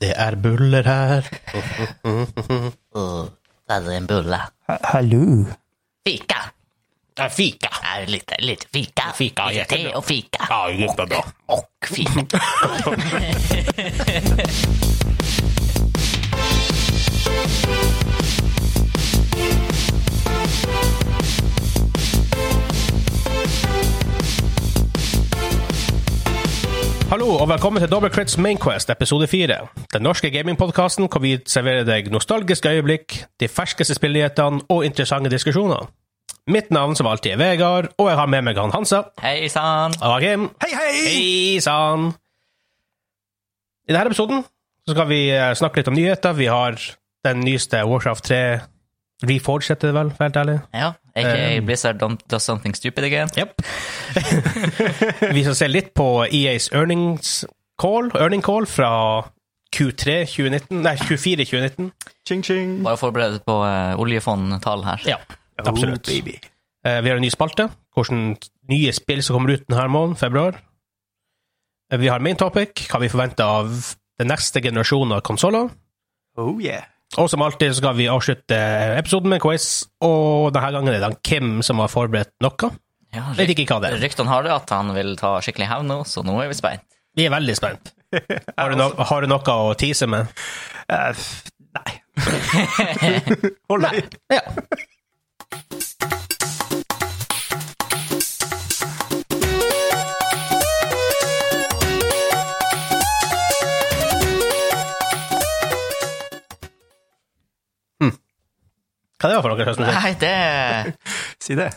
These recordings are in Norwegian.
Det er buller her. Uh, ta deg en bulle. Ha- Hallo. Fika. Fika. Er det litt, litt fika. Fika, Litt te og fika. Ja, jättebra. Og fika. Hallo, og velkommen til Double Crits Mainquest, episode 4. Den norske gamingpodkasten hvor vi serverer deg nostalgiske øyeblikk, de ferskeste spillnyhetene og interessante diskusjoner. Mitt navn som alltid er Vegard, og jeg har med meg han Hansa. Hei sann. Og Kim. Hei, hei! Hei sann! I denne episoden så skal vi eh, snakke litt om nyheter. Vi har den nyeste Warcraft 3 Reforged, heter det vel, for helt ærlig. Ja, Um, aka Blizzard don't, does something stupid again. Yep. vi skal se litt på EAs earnings call, earning call fra Q3 2019, nei, 24 2019. Ching, ching. Bare forberedt på uh, oljefondtall her. Ja, Oh, absolutt. Eh, vi har en ny spalte, hvordan nye spill som kommer ut denne måneden, februar. Eh, vi har main topic, hva vi forventer av den neste generasjonen av konsoller. Oh yeah. Og som alltid så skal vi avslutte episoden med en quiz, og denne gangen er det han Kim som har forberedt noe. Ja, Vet ikke hva det er. Ryktene har det at han vil ta skikkelig hevn nå, så nå er vi spent. Vi er veldig spent. Har du, no har du noe å tease med? Eh, f- nei. Hold deg. Ja. Hva er det for noe slags musikk? Nei, det Si det.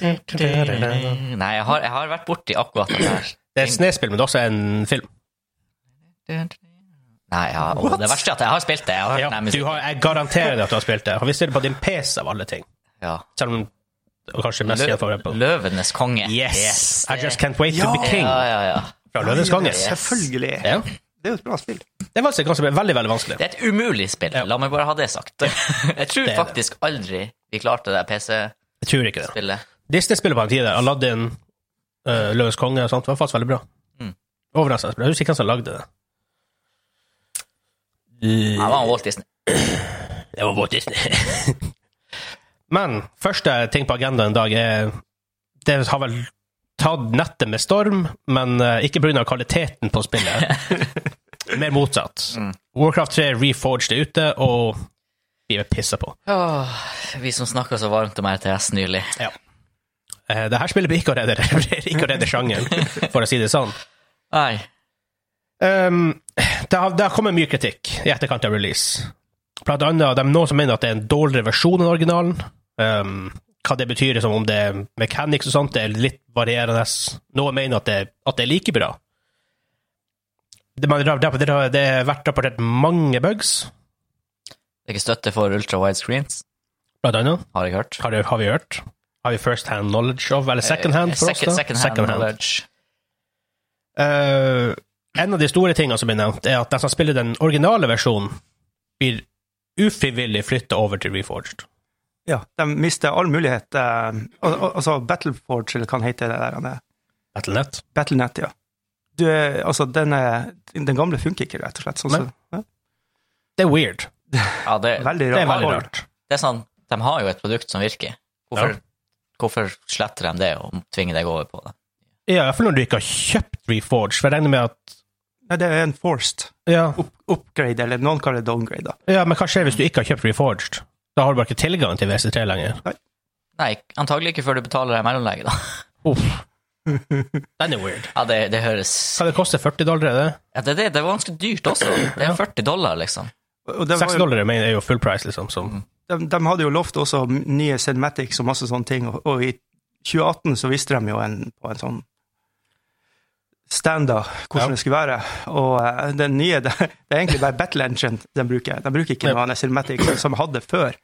Nei, jeg har, jeg har vært borti akkurat den der. Det er et snespill, men det er også en film. Nei, ja, og det verste er at jeg har spilt det. Jeg har hørt Ja, den du musikken. har, jeg garanterer deg at du har spilt det. Og vi ser det på din PC av alle ting. Ja. Selv om og kanskje mest kjent for Lø Apple. Løvenes konge. Yes! I det- just can't wait to Ja. be king. Ja, ja, ja. Fra Løvenes konge. Ja, Selvfølgelig. Ja. Det er jo et bra spill. Det er faktisk ganske, veldig, veldig vanskelig. Det er et umulig spill, la meg bare ha det sagt. Jeg tror det. faktisk aldri vi klarte det PC-spillet. Jeg tror ikke det. Disney spiller på en tid der. Aladdin, uh, Løvens konge og sånt var faktisk veldig bra. Mm. Overraskende bra. Jeg husker ikke hvem som lagde det. Jeg var Walt Disney. Det var Walt Disney. Men første ting på agendaen i dag er Det har vel tatt nettet med storm, men eh, ikke pga. kvaliteten på spillet. Mer motsatt. Warcraft 3 Reforged er ute, og vi er pissa på. Åh, vi som snakka så varmt om RTS nylig. Eh, det her spillet blir ikke å redde, ikke å redde sjangeren, for å si det sånn. Nei. Ehm, det, har, det har kommet mye kritikk i etterkant av release. Blant annet det er noen som mener at det er en dårligere versjon enn originalen. Ehm, hva det betyr, liksom, om det er mechanics og sånt, det er litt varierende. Noen mener at det, at det er like bra. Det, man, det, det, det har vært rapportert mange bugs, Det er ikke støtte for ultra wide screens, blant annet. har jeg hørt. Har, det, har vi hørt? Har vi first hand knowledge of, eller second hand for oss? Eh, da? second, second hand knowledge. Eh, en av de store tingene som blir nevnt, er at de som spiller den originale versjonen, blir ufrivillig flytta over til Reforged. Ja, de mister all mulighet. eh, al- al- altså, Battleforge, eller hva den heter det der. han er. Battlenet. Battlenet, ja. Du, er- altså, den, er, den gamle funker ikke, rett og slett. Sånn, Nei. så, ja. Det er weird. Ja, det, Veldig Det er rart. veldig rart. det er sånn, de har jo et produkt som virker. Hvorfor, Ja. hvorfor sletter de det og tvinger deg over på det? Ja, Iallfall når du ikke har kjøpt Reforged, for jeg regner med at Nei, det er en forced ja, up upgrade, eller noen kaller det downgrade. da. ja, men hva skjer hvis du ikke har kjøpt Reforged? Da har du bare ikke tilgang til WC3 lenger. Nei, antagelig ikke før du betaler deg mellomlegget, da. Uff. Den er weird. Ja, det, det høres Hva det koster 40 dollar, er det? ja, det, er det, det var ganske dyrt også. Det er 40 dollar, liksom. Og- og det var 6 jo- Mm. dollar mener jeg, er jo full price, liksom. Som, de, de hadde jo lovt også nye cinematics og masse sånne ting, og, og i 2018 så viste de jo en, på en sånn standard hvordan Ja. det skulle være, og eh, den nye, det, det er egentlig bare Battle Engine de bruker. De bruker ikke Ja. noe annet cinematic som de hadde før,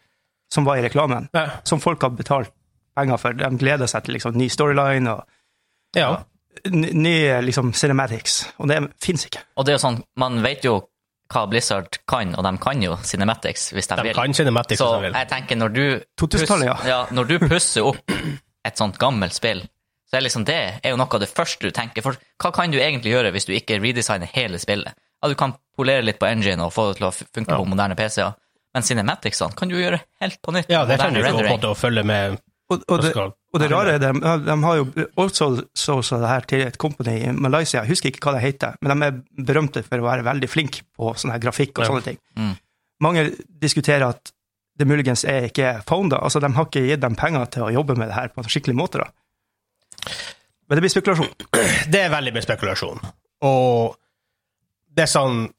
som var i reklamen, Nei, som folk har betalt penger for. De gleder seg til liksom ny storyline og ja. n- nye liksom cinematics, og det finnes ikke. Og det er jo sånn, man vet jo hva Blizzard kan, og de kan jo Cinematics hvis de, De vil. kan Cinematics Så hvis de vil. jeg tenker når du 2000-tallet, ja. ja, når du pusser opp et sånt gammelt spill, så er liksom det er jo noe av det første du tenker. For hva kan du egentlig gjøre hvis du ikke redesigner hele spillet? ja, du kan polere litt på engine og få det til å f- funke Ja. på moderne PC-er. Men Cinematicsene kan du gjøre helt på nytt. Ja, det moderne trenger du ikke å, på en rendering. måte å følge med. Og, og, det, skal- og det rare er de, de har jo outsourca det her til et company i Malaysia, jeg husker ikke hva det heter, men de er berømte for å være veldig flinke på sånn her grafikk og Ja. sånne ting. Mm. Mange diskuterer at det muligens er ikke founda, altså de har ikke gitt dem penger til å jobbe med det her på en skikkelig måte, da. Men det blir spekulasjon. Det er veldig mye spekulasjon. Og det er sånn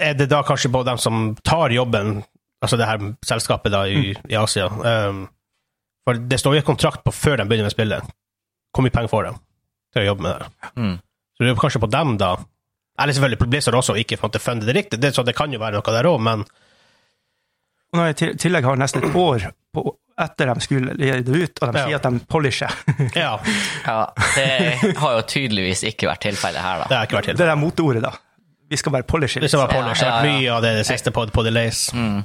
Er det da kanskje både dem som tar jobben, altså det her selskapet da i, i Asia ehm, For det står jo en kontrakt på før de begynner med spillet. Hvor mye penger får de til å jobbe med det? Mm. Så det er jo kanskje på dem, da. Eller selvfølgelig på Blizzard også, ikke for at det fundet det riktig. Det, så det kan jo være noe der òg, men Og når jeg i til- tillegg har nesten et år på, etter de skulle gi det ut, og de Ja. sier at de polisher ja, Ja, det har jo tydeligvis ikke vært tilfellet her, det da. har ikke vært Det til. der motorordet, da. Vi skal bare polishe. Hvis det var Polish, det har vært Ja, ja, mye av det, det siste på, på Delays. Mm.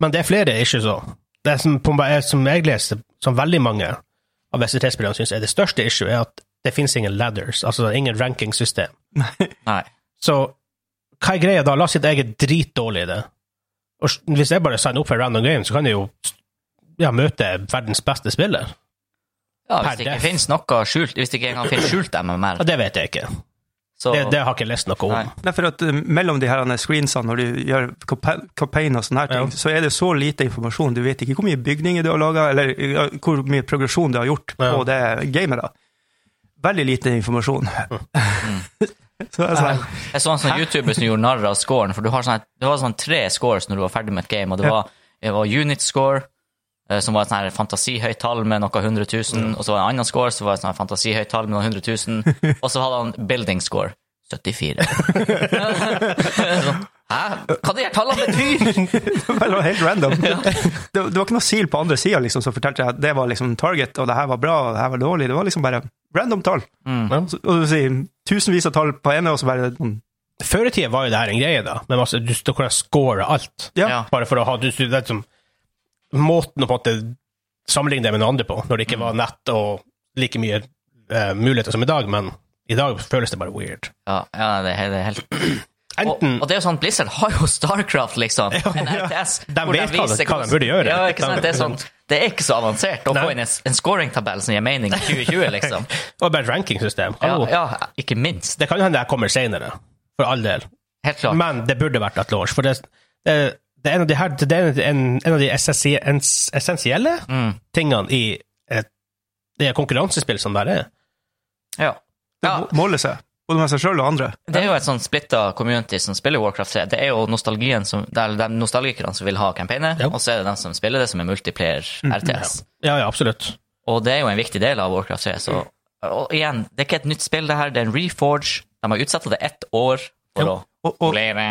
Men det er flere issues òg. Det som, på meg- som jeg leser, som veldig mange av SRT-spillerne syns er det største issue, er at det finnes ingen ladders, altså ingen rankingsystem. Nei. Så hva er greia da? La oss si at jeg er dritdårlig i det. Og s- hvis jeg bare signer opp for en random game, så kan jeg jo ja, møte verdens beste spiller. Ja, Per hvis det def. ikke finnes noe skjult, hvis det ikke engang finnes skjult MMR, Ja, det vet jeg ikke. så Det, det har ikke jeg lest noe om. Nei. Nei, for at eh, mellom de her screensene, når du gjør kampa- campaign og sånne her ting, Ja. så er det så lite informasjon. Du vet ikke hvor mye bygninger du har laga, eller ja, hvor mye progresjon du har gjort på Ja. det gamet. da. Veldig lite informasjon. Mm. så det er sånn, Jeg så en sånn YouTuber som gjorde narr av scoren, for du har sånn, det var sånn tre scores når du var ferdig med et game, og det var, det var unit score, eh, som var et sånn her fantasihøyt tall med noe 100 000, og så var det en annen score som var et sånn her fantasihøyt tall med noe 100 000, og så hadde han building score, 74. sånn, Hæ? Hva de her tallene betyr? det var helt random. det, det var ikke noe sil på andre sida liksom, som fortalte at det var liksom target, og det her var bra, og det her var dårlig. Det var liksom bare random tall. Ja. Så, og du sier tusenvis av tall på ene, og så bare sånn, Før i tida var jo det her en greie, da. Men altså, du, du kunne score alt. ja. Ja. Bare for å ha du, du, det er som, Måten å på en måte sammenligne det med noen andre på, når det ikke var nett og like mye eh, muligheter som i dag, men i dag føles det bare weird. Ja, ja det, er- det er helt... Og, Enten og det er jo sånn, Blizzard har jo Starcraft, liksom. En RTS. De hvor vet hva de- hva de viser hvordan- burde gjøre. Ja, ikke sant? Det er sånn, det er ikke så avansert å Nei. få inn en, en scoring-tabell som gir mening i 2020, liksom. Og bare et rankingsystem. Ja, Hallo. ja, ikke minst. Det kan hende jeg kommer senere, for all del. Helt klart. Men det burde vært et launch. For det, det, det er en av de, her, det er en, en av de essensi- ens- essensielle Mm. tingene i et, det konkurransespill som det er. Ja. Det Ja. må- måler seg, både med seg sjøl og andre. Det er jo et sånn splitta community som spiller Warcraft 3. Det er jo nostalgien som, det er de nostalgikerne som vil ha campaignet, Ja. Mm, og så er det dem som spiller det som er multiplayer RTS. Ja, ja, absolutt. Og det er jo en viktig del av Warcraft 3. Så, og igjen, det er ikke et nytt spill, det her. Det er en reforge. De har utsatt det ett år for Ja. Og, å og, polere.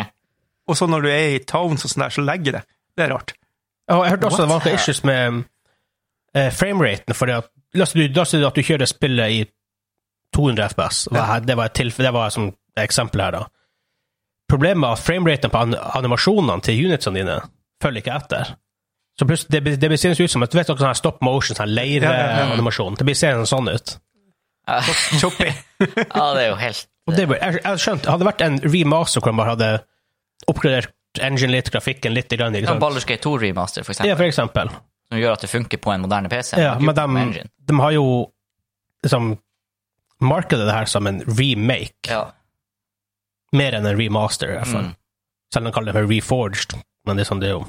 Og så når du er i towns og sånn der, så legger det. Det er rart. Ja, jeg hørte også What? det var noen issues med eh, frameraten. fordi at La oss si du, la oss si at du kjører spillet i 200 FPS. Det var, det var, et, tilf- det var et sånt eksempel her, da. Problemet er at frameraten på an animasjonene til unitsene dine følger ikke etter. Så plutselig, det, blir- det blir seende ut som et, du vet, noe sånn her stop motion, sånn Ja, leireanimasjon. Det blir seende sånn ut. Choppy. Ja, det er jo helt Og det, blir- jeg, jeg skjønte, Hadde det vært en remaster hvor de bare hadde oppgradert engine litt, grafikken litt grann, ikke En sant? Baldur's Gate 2 remaster, for eksempel, Ja, for eksempel. som gjør at det funker på en moderne PC. Ja, Det er men de, jo engine. de har jo liksom markedet det her som en remake, ja. mer enn en remaster, i hvert fall. Mm. Selv om de kaller det for reforged, men det er sånn det er jo.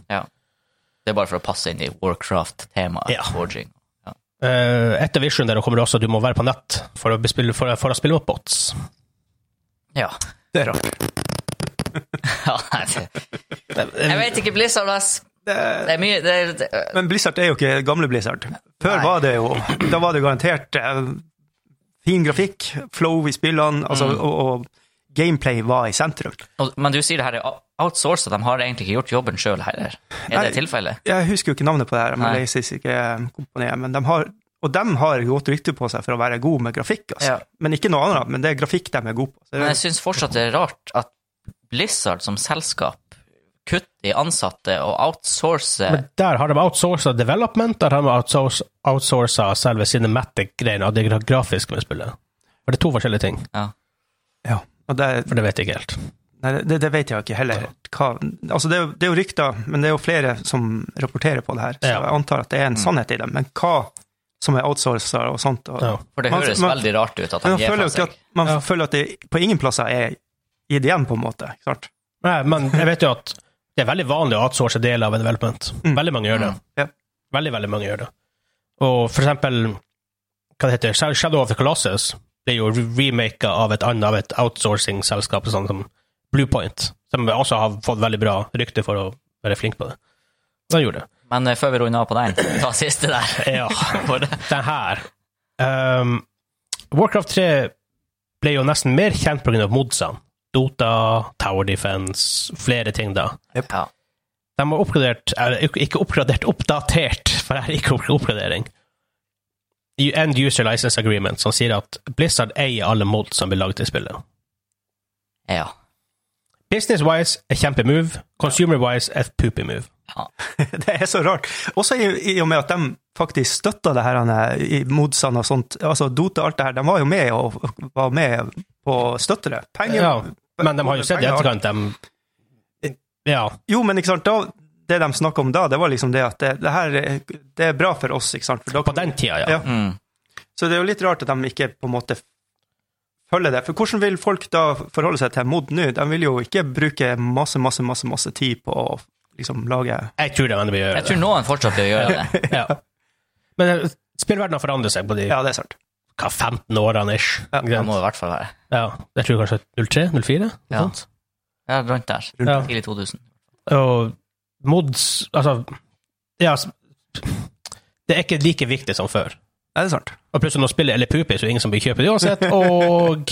Det er bare for å passe inn i Warcraft-temaet. Ja. forging. Eh, etter Vision der kommer det også at du må være på nett for å, bespille, for, for å spille mot bots. Ja. Det er rart. Ja, nei, det- Eh, Jeg vet ikke, Blizzard, ass. Det, Det er mye det, er- det, men Blizzard er jo ikke gamle Blizzard. Før Nei. var det jo Da var det garantert eh, fin grafikk, flow i spillene, altså, Mm. og, og gameplay var i sentrum. og- Men du sier det her er outsourcet. De har egentlig ikke gjort jobben sjøl heller. Er Nei. det tilfellet? Jeg husker jo ikke navnet på det her, Nei. Malaysisk, eh, kompaniet, men de har og de har godt rykte på seg for å være gode med grafikk. Altså. Ja. Men ikke noe annet, men det er grafikk de er gode på. Så det Men er- jeg syns fortsatt det er rart at Blizzard som selskap kutter i ansatte og outsourcer Men eh, der har de outsourcet development, der har de outsourcet, outsourcet selve cinematic-greiene, og det gra- grafiske med spillet. For det er to forskjellige ting, ja. ja. og det, for det vet jeg ikke helt. Nei, det, det vet jeg ikke heller. Hva, altså det, er jo- det er jo rykter, men det er jo flere som rapporterer på det her, så Ja. Mm. jeg antar at det er en sannhet i det. Men hva som er outsourcer og sånt og, Ja. For det Man- høres man- veldig rart ut at Men han man gir føler fra jo seg. ikke at, man Ja. føler at det på ingen plasser er gitt igjen, på en måte. ikke sant? Nei, men jeg vet jo at det er veldig vanlig å outsource deler av en development. Mm. Veldig mange gjør det. Ja. Veldig, veldig mange gjør det. Og for eksempel, hva det heter, Shadow- Shadow of the Colossus blir jo remaka av et annet, av et outsourcing-selskap, sånn som Bluepoint, som også har fått veldig bra rykte for å være flink på det. De gjorde det. Men eh, før vi runder av på den, ta siste der. Ja. For det- Den her um, Warcraft 3 ble jo nesten mer kjent pga. modsene. Dota, Tower Defense, flere ting da. Ja. De har oppgradert eller, ikke- Ikke oppgradert, oppdatert, for det er ikke opp- oppgradering. I End User License Agreement, som sier at Blizzard eier alle mods som blir laget i spillet. ja. Business-wise er kjempemove, consumer-wise er poopy-move. Det er så rart. Også i, i og med at de faktisk støtta det her han, i modsene og sånt. altså Dota og alt det her. De var jo med og og var med på å støtte det. Penger, Ja, Men de har jo sett i penger- etterkant, de Ja. Jo, men ikke sant, da, det de snakka om da, det var liksom det at det, det her er- det er bra for oss, ikke sant. For da På kan- den tida, ja. Ja. Mm. Så det er jo litt rart at de ikke på en måte følger det. For hvordan vil folk da forholde seg til mod nå? De vil jo ikke bruke masse, masse, masse, masse tid på å liksom lage Jeg tror de ender med å gjøre Jeg tror noen fortsatt vil gjøre det. det. Ja. Men eh, spillverdenen har forandret seg på de Ja, det er sant. hva, 15 årene ish. Ja, Ikke Det sant? må det i hvert fall være. Ja, jeg tror kanskje 03-04? Ja. Ja, rundt der. Ja. Tidlig 2000. Og mods Altså, ja s- Det er ikke like viktig som før. Ja, det er sant. Og plutselig når spillet eller pupi, så er det ingen som vil kjøpe det uansett, og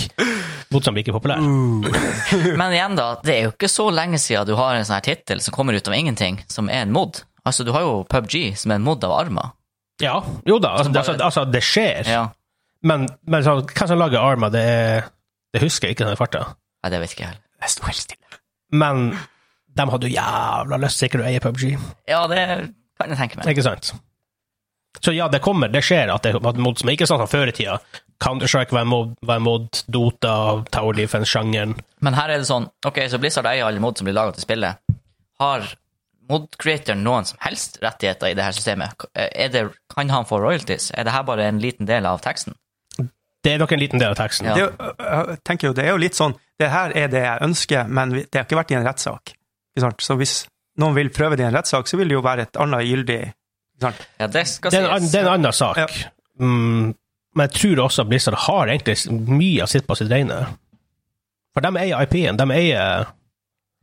modsene blir ikke populære. Men igjen, da, det er jo ikke så lenge siden du har en sånn her tittel som kommer ut av ingenting, som er en mod. Altså, du har jo PubG, som er en mod av Arma. Ja, jo da, altså, Som bare- altså, altså det skjer, Ja. men, men så, hvem som lager Arma, det, er- det husker jeg ikke sånn i farta. Nei, det vet ikke jeg heller. Jeg sto helt stille. Men de hadde jo jævla lyst til ikke å eie PubG, Ja, det kan jeg tenke meg. ikke sant? Så ja, det kommer, det skjer at det at mods som ikke er sånn som før i tida. Counter-Strike var en mod, var en mod, Dota, Tower Defense-sjangeren. Men her er det sånn, ok, så Blizzard eier alle mod som blir laget til spillet. Har mod-creatoren noen som helst rettigheter i det her systemet? Eh, Er det, kan han få royalties? Er det her bare en liten del av teksten? Det er nok en liten del av teksten. Ja. Det, er jo- jeg tenker jo, det er jo litt sånn Det her er det jeg ønsker, men vi- det har ikke vært i en rettssak. Ikke sant? Så hvis noen vil prøve det i en rettssak, så vil det jo være et annet gyldig ikke sant? Ja, det skal Det er en, an- sies. det er en annen sak. Ja. Mm, men jeg tror også at Blizzard har egentlig s- mye av sitt på sitt reine. For de eier IP-en. De eier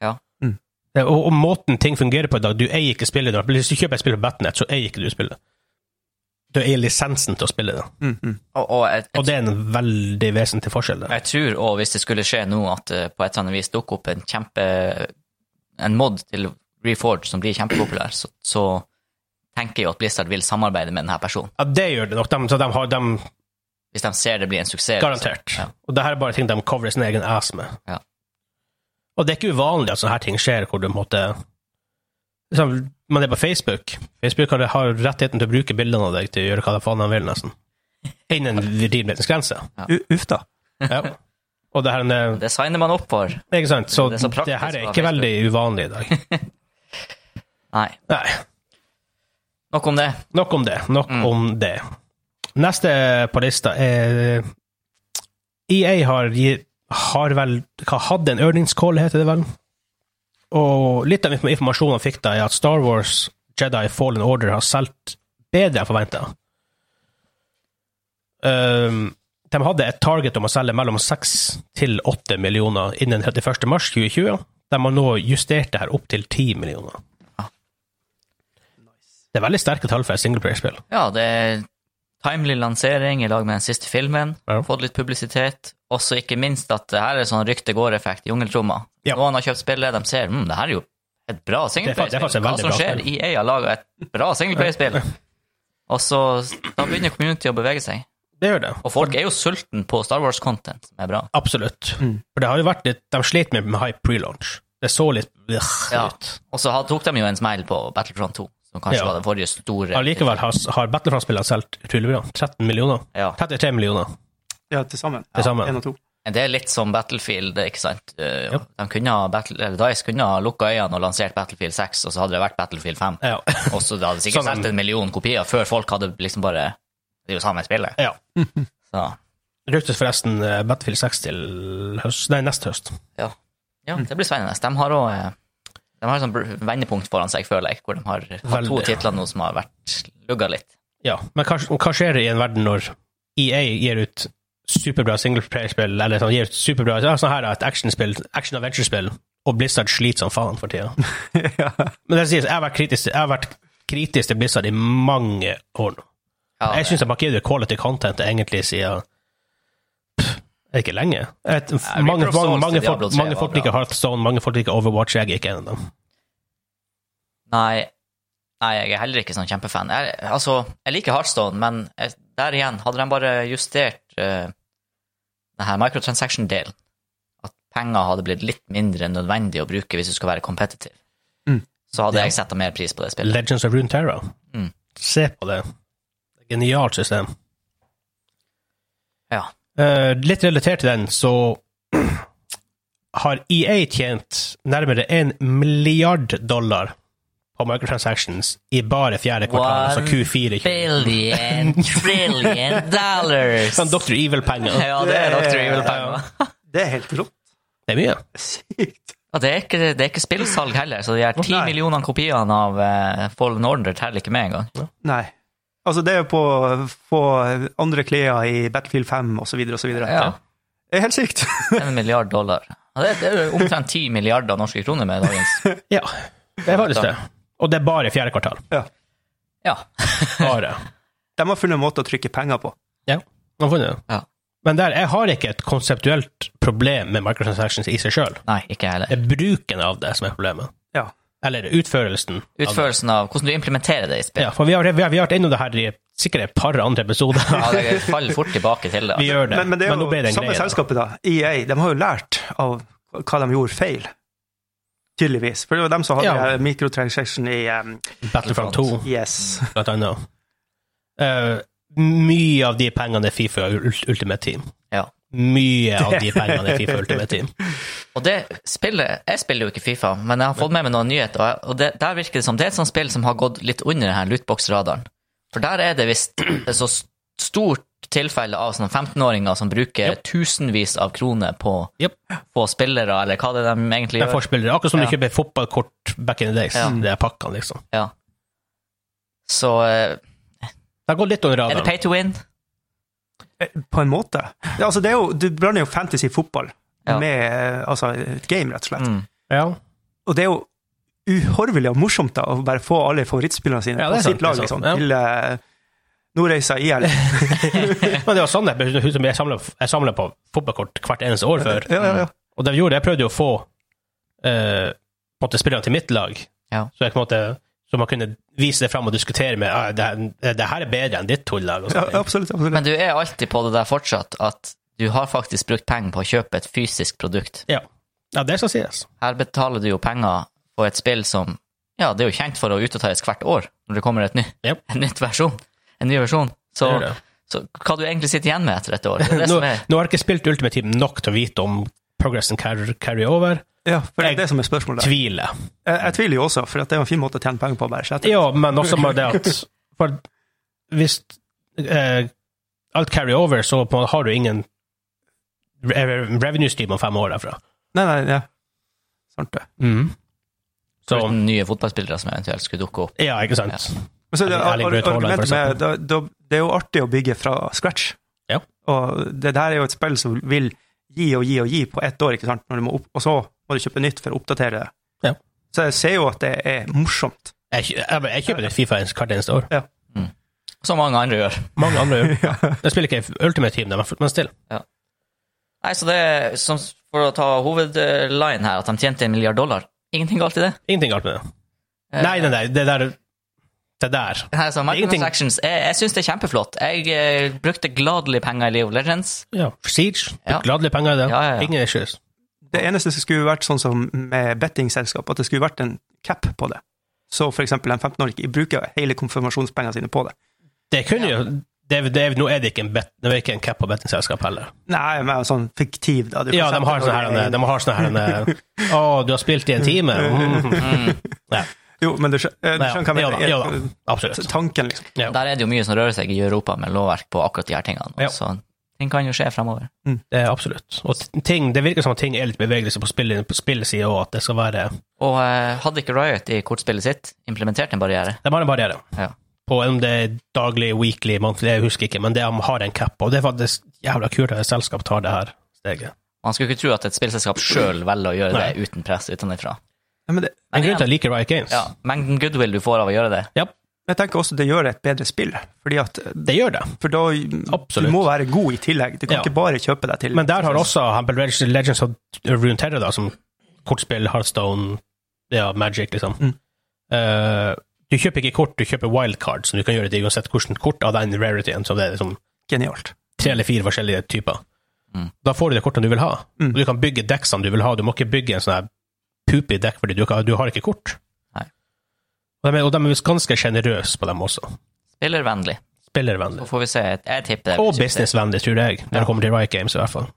Ja. Mm. Ja, Og, og måten ting fungerer på i dag Du eier ikke spillet. Du- Hvis du kjøper et spill på Batnet, så eier ikke du spillet. Du eier lisensen til å spille det. Mm, mm. Og, og jeg, Og det er en veldig vesentlig forskjell. Der. Jeg tror òg, hvis det skulle skje nå, at eh, på et eller annet vis dukker opp en kjempe En mod til Reforge som blir kjempepopulær, så, så tenker jeg jo at Blizzard vil samarbeide med denne personen. Ja, det gjør det nok. De, så de har de Hvis de ser det blir en suksess. Garantert. Ja. Og det her er bare ting de coverer sin egen ass med. Ja. Og det er ikke uvanlig at sånne her ting skjer, hvor du måtte liksom, Man er på Facebook. Facebook har, har rettigheten til å bruke bildene av deg til å gjøre hva de faen de vil, nesten. Innen rimelighetens grense. U- Uff, da. Ja. Og det her er Det signer man opp for. Ikke sant? Så det, Det er så praktisk her er på ikke Facebook. veldig uvanlig i dag. Nei. Nei. Nok om det. Nok om det. Nok om det. Neste på lista er EA har, gi- har vel hva hadde en earnings call, heter det vel? Og litt av inform- informasjonen han fikk da, er at Star Wars Jedi Fallen Order har solgt bedre enn forventa. Um, de hadde et target om å selge mellom 6 til 8 millioner innen 31. mars 2020. De har nå justert det her opp til 10 millioner. Det er veldig sterke tall for et singleplayer-spill. Ja, det er timely lansering i lag med den siste filmen. Ja. Fått litt publisitet. Også ikke minst at det her er sånn rykte-går-effekt. Jungeltromma. Ja. Noen har kjøpt spillet, de ser hm, det her er jo et bra Det er fa- det er faktisk et singleplayerspill. Hva veldig som bra skjer? spill. EA har laga et bra singleplayerspill. Og så Da begynner community å bevege seg. Det gjør det. Og folk er jo sulten på Star Wars-content, som er bra. Absolutt. Mm. For det har jo vært litt, de slet med, med hype pre-launch. Det så litt øh, Ja. ut. Og så ha- tok de jo en smell på Battlefront 2, som kanskje Ja. var det forrige store Allikevel har, har Battlefront-spillene solgt utrolig bra. 13 millioner. Ja. 33 millioner Ja, til sammen. til sammen. Én og to. Men det er litt som Battlefield, ikke sant? Eh, Ja. De kunne ha battle, eller Dice kunne ha lukka øynene og lansert Battlefield 6, og så hadde det vært Battlefield 5. Ja. Og så hadde det sikkert Sånn. solgt en million kopier før folk hadde liksom bare Det er jo samme spillet. ja. Så Ryktes forresten eh, Battlefield 6 til høst, nei, neste høst. ja. ja det blir spennende. De har òg de har et sånt br- vendepunkt foran seg, føler jeg, hvor de har hatt to Veldig. titler nå som har vært lugga litt. Ja, men hva, hva skjer i en verden når EA gir ut superbra singleplayerspill, eller sånn, gir ut superbra ja, sånn her da, et actionspill, action-adventure-spill, og Blizzard sliter som faen for tida? ja. Men det sies, jeg har vært kritisk, til- jeg har vært kritisk til Blizzard i mange år nå. Ja, jeg syns de har gitt ut quality content egentlig siden Pff, er det ikke lenge. Et, mange Reaper mange, of Souls mange, til folk- Diablo 3 mange var folk bra. liker Hearthstone, mange folk liker Overwatch, jeg er ikke en av dem. Nei, nei, jeg er heller ikke sånn kjempefan. Jeg, altså, jeg liker Heartstone, men jeg, der igjen, hadde de bare justert uh, denne microtransaction-delen, at penger hadde blitt litt mindre nødvendig å bruke hvis du skal være competitive, Mm. så hadde Ja. jeg sett mer pris på det spillet. Legends of Runeterra. Mm. Se på det. Genialt system. Ja. Eh, litt relatert til den, så har EA tjent nærmere en milliard dollar på microtransactions i bare fjerde kvartal, altså One Q4. i 2020. Billion trillion dollars! Sånn Dr. Evil-penger. Ja, det er Dr. Ja. Evil-penger. Det er helt rått. Det er mye. Sykt. Og det er ikke, det er ikke spillsalg heller, så de her ti Nei. millionene kopiene av eh, Fallen Order teller ikke med engang. Nei. Altså, det er jo på å få andre klær i Battlefield 5 osv. osv. Ja. Det er helt sykt. En milliard dollar. Ja, det, det er jo omtrent ti milliarder norske kroner med dagens Ja, det er faktisk det. Og det er bare i fjerde kvartal. ja. Ja. Bare. De har funnet en måte å trykke penger på. Ja, man har funnet det. Ja. Men der, jeg har ikke et konseptuelt problem med microtransactions i seg sjøl. Nei, ikke jeg Det heller. er bruken av det som er problemet. Ja. Eller utførelsen. Av det. Utførelsen av hvordan du implementerer det i spill. Ja, for vi har, vi har, vi har vært innom det her i sikkert et par andre episoder. Ja, det faller fort tilbake til vi det. altså. gjør det. Men, men det er nå jo ble det en samme greie, da. selskapet, da. EA. De har jo lært av hva de gjorde feil. Tydeligvis. For det var dem som hadde Ja. ja. microtransaction i um, E Battlefront 2, Yes. blant annet. Eh, mye av de pengene er Fifa og Ult- Ultimate Team. Ja. Mye av de pengene er Fifa og Ultimate Team. Og det spillet Jeg spiller jo ikke Fifa, men jeg har fått med meg noen nyheter, og jeg- og det, der virker det som det er et sånt spill som har gått litt under denne lootbox-radaren. For der er det visst et så s- stort tilfelle av sånne 15-åringer som bruker tusenvis av kroner på Yep. få spillere, eller hva det er de egentlig Det gjør. er forspillere. Akkurat som Ja. du kjøper fotballkort back in the days. Ja. Det er pakkene, liksom. Ja. Så eh, Det har gått litt under er det radaren. pay to win? På en måte. Ja, altså, det er jo, du blander jo fantasy-fotball Ja. med eh, altså, et game, rett og slett. Mm. Ja. Og det er jo uhorvelig og morsomt da, å bare få alle favorittspillerne sine Ja, på det er sant, sitt lag, det er sant, liksom, ja. til eh, Nordreisa IL. Men det var sånn jeg, jeg samlet- jeg samla på fotballkort hvert eneste år før. Ja, ja, ja. Og det vi gjorde, jeg prøvde jo å få eh, på en måte spillerne til mitt lag, Ja. så, jeg, på en måte, så man kunne vise det fram og diskutere med ah, det, her- det her er bedre enn ditt tullag. og ja sånne ting. absolutt. absolutt. Men du er alltid på det der fortsatt, at du har faktisk brukt penger på å kjøpe et fysisk produkt. Ja. ja, det skal sies. Her betaler du jo penger på et spill som Ja, det er jo kjent for å utdateres hvert år, når det kommer et ny, Yep. en nytt versjon. En ny versjon. Så, Det gjør det. så hva du egentlig sitter igjen med etter et år, det er det Nå, som er nå har jeg ikke spilt Ultimate Team nok til å vite om progressen carry, carry over. Ja, for det Jeg- er det som er spørsmålet. Jeg, Tviler. jeg tviler jo også, for at det er jo en fin måte å tjene penger på. bare slett. Ja, men også med det at for Hvis eh, alt carry over, så på en måte har du ingen re- revenue stream om fem år derfra. Nei, nei, ja. Sant det. Mm. Så, uten nye fotballspillere som eventuelt skulle dukke opp. ja, ikke sant. Men så er det, Erling Braut Haaland, for argumentet med, da, da, det er jo artig å bygge fra scratch. Ja. Og det der er jo et spill som vil gi og gi og gi på ett år, ikke sant? Når du må opp, og så må du kjøpe nytt for å oppdatere det. Ja. Så jeg ser jo at det er morsomt. Jeg, kjø- jeg, jeg kjøper nytt Fifa hvert eneste år. Som mange andre gjør. Mange andre gjør det. Jeg spiller ikke Ultimate Team, men- men still. Nei, så det er som for å ta hovedline her, at de tjente en milliard dollar. Ingenting galt i det. Ingenting galt med det. Eh, Nei, nei, nei, det der Det der. Nei, så ingenting. microtransactions, jeg, jeg syns det er kjempeflott. Jeg eh, brukte gladelig penger i League of Legends. Ja. Siege. Ja. Gladelige penger i det. Ja, ja, ja. Ingen issues. Det eneste som skulle vært sånn som med bettingselskap, at det skulle vært en cap på det. Så for eksempel en 15-åring bruker hele konfirmasjonspengene sine på det. Det kunne jo det, er- det, er- nå er det ikke en, bet, det er ikke en cap på bettingselskap heller. Nei, men sånn fiktiv, da. Du Ja, kan de har sette sånne her, noe i- de har sånne her Å, du har spilt i en time? Mm. Ja, Jo, men du skjø- eh, du Nei, skjønner hva ja, jeg da, mener. ja, da, absolutt. Tanken, liksom. Ja. Der er det jo mye som rører seg i Europa med lovverk på akkurat de her tingene. Ja. Så ting kan jo skje fremover. Det er absolutt. Og t- ting, det virker som at ting er litt bevegelse på spill- på spillsida òg, at det skal være Og eh, hadde ikke Riot i kortspillet sitt implementert en barriere? De har en barriere. Ja. På om det er daglig, weekly, monthly, jeg husker ikke, men det de har en cap på. Og det er faktisk jævla kult at et selskap tar det her steget. Man skulle ikke tro at et spillselskap sjøl velger å gjøre Nei. det uten press utenfra. Ja, men det, Men grunnen igjen- til at jeg liker Riot Games, Ja, mengden goodwill du får av å gjøre det. ja, jeg tenker også det gjør et bedre spill. Fordi at, eh, det gjør det. for da Absolutt. Du må være god i tillegg. Du kan Ja. ikke bare kjøpe deg til. Men der har også Humble Legends og Rune Terror, da, som kortspill, Hearthstone, ja, Magic, liksom. Mm. Eh, du kjøper ikke kort, du kjøper wildcard, så du kan gjøre det uansett hvilket kort av den rarityen. Så det er liksom Genialt. tre eller fire forskjellige typer. Mm. Da får du det kortet du vil ha. Mm. Og du kan bygge dekkene du vil ha. Du må ikke bygge en sånn her poopy dekk, fordi du, ikke har- du har ikke kort. Nei. Og de er, og de er visst ganske sjenerøse på dem også. Spillervennlig. Spillervennlig. Så får vi se. Jeg tipper det. blir Og suksess. businessvennlig, tror jeg, når det kommer til Riot Games i hvert fall.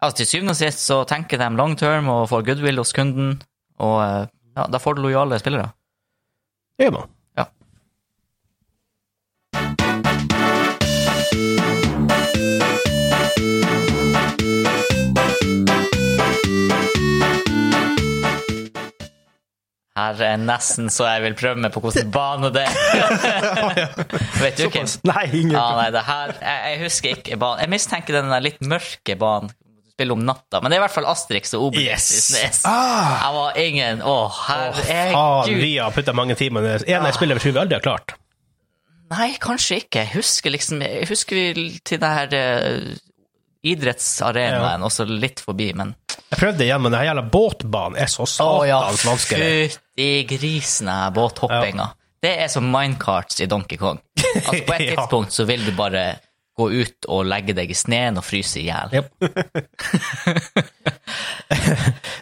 Altså, til syvende og sist så tenker de long term og får goodwill hos kunden, og eh, ja, da får du lojale spillere. Det gjør man. Ja. Her er nesten så jeg vil prøve meg på hvordan bane det er. Vet du ikke? Nei, ingen Ja, nei, det her Jeg, jeg husker ikke banen. Jeg mistenker den der litt mørke banen. Du spiller om natta, men det er i hvert fall Asterix og Obelix Yes. i Snes. Ah, Jeg var ingen Å, Ah. Faen, herregud. vi har putta mange timer i det. En av spillerne tror vi aldri har klart. Nei, kanskje ikke. Jeg husker liksom Jeg husker vi til den her eh, idrettsarenaen, også litt forbi, men Jeg prøvde igjen, men den her jævla båtbanen er så satans vanskelig. fytti grisen, den her båthoppinga. Det er som minecarts i Donkey Kong. Altså, på et Ja. tidspunkt så vil du bare gå ut og legge deg i sneen og fryse i hjel. Jep.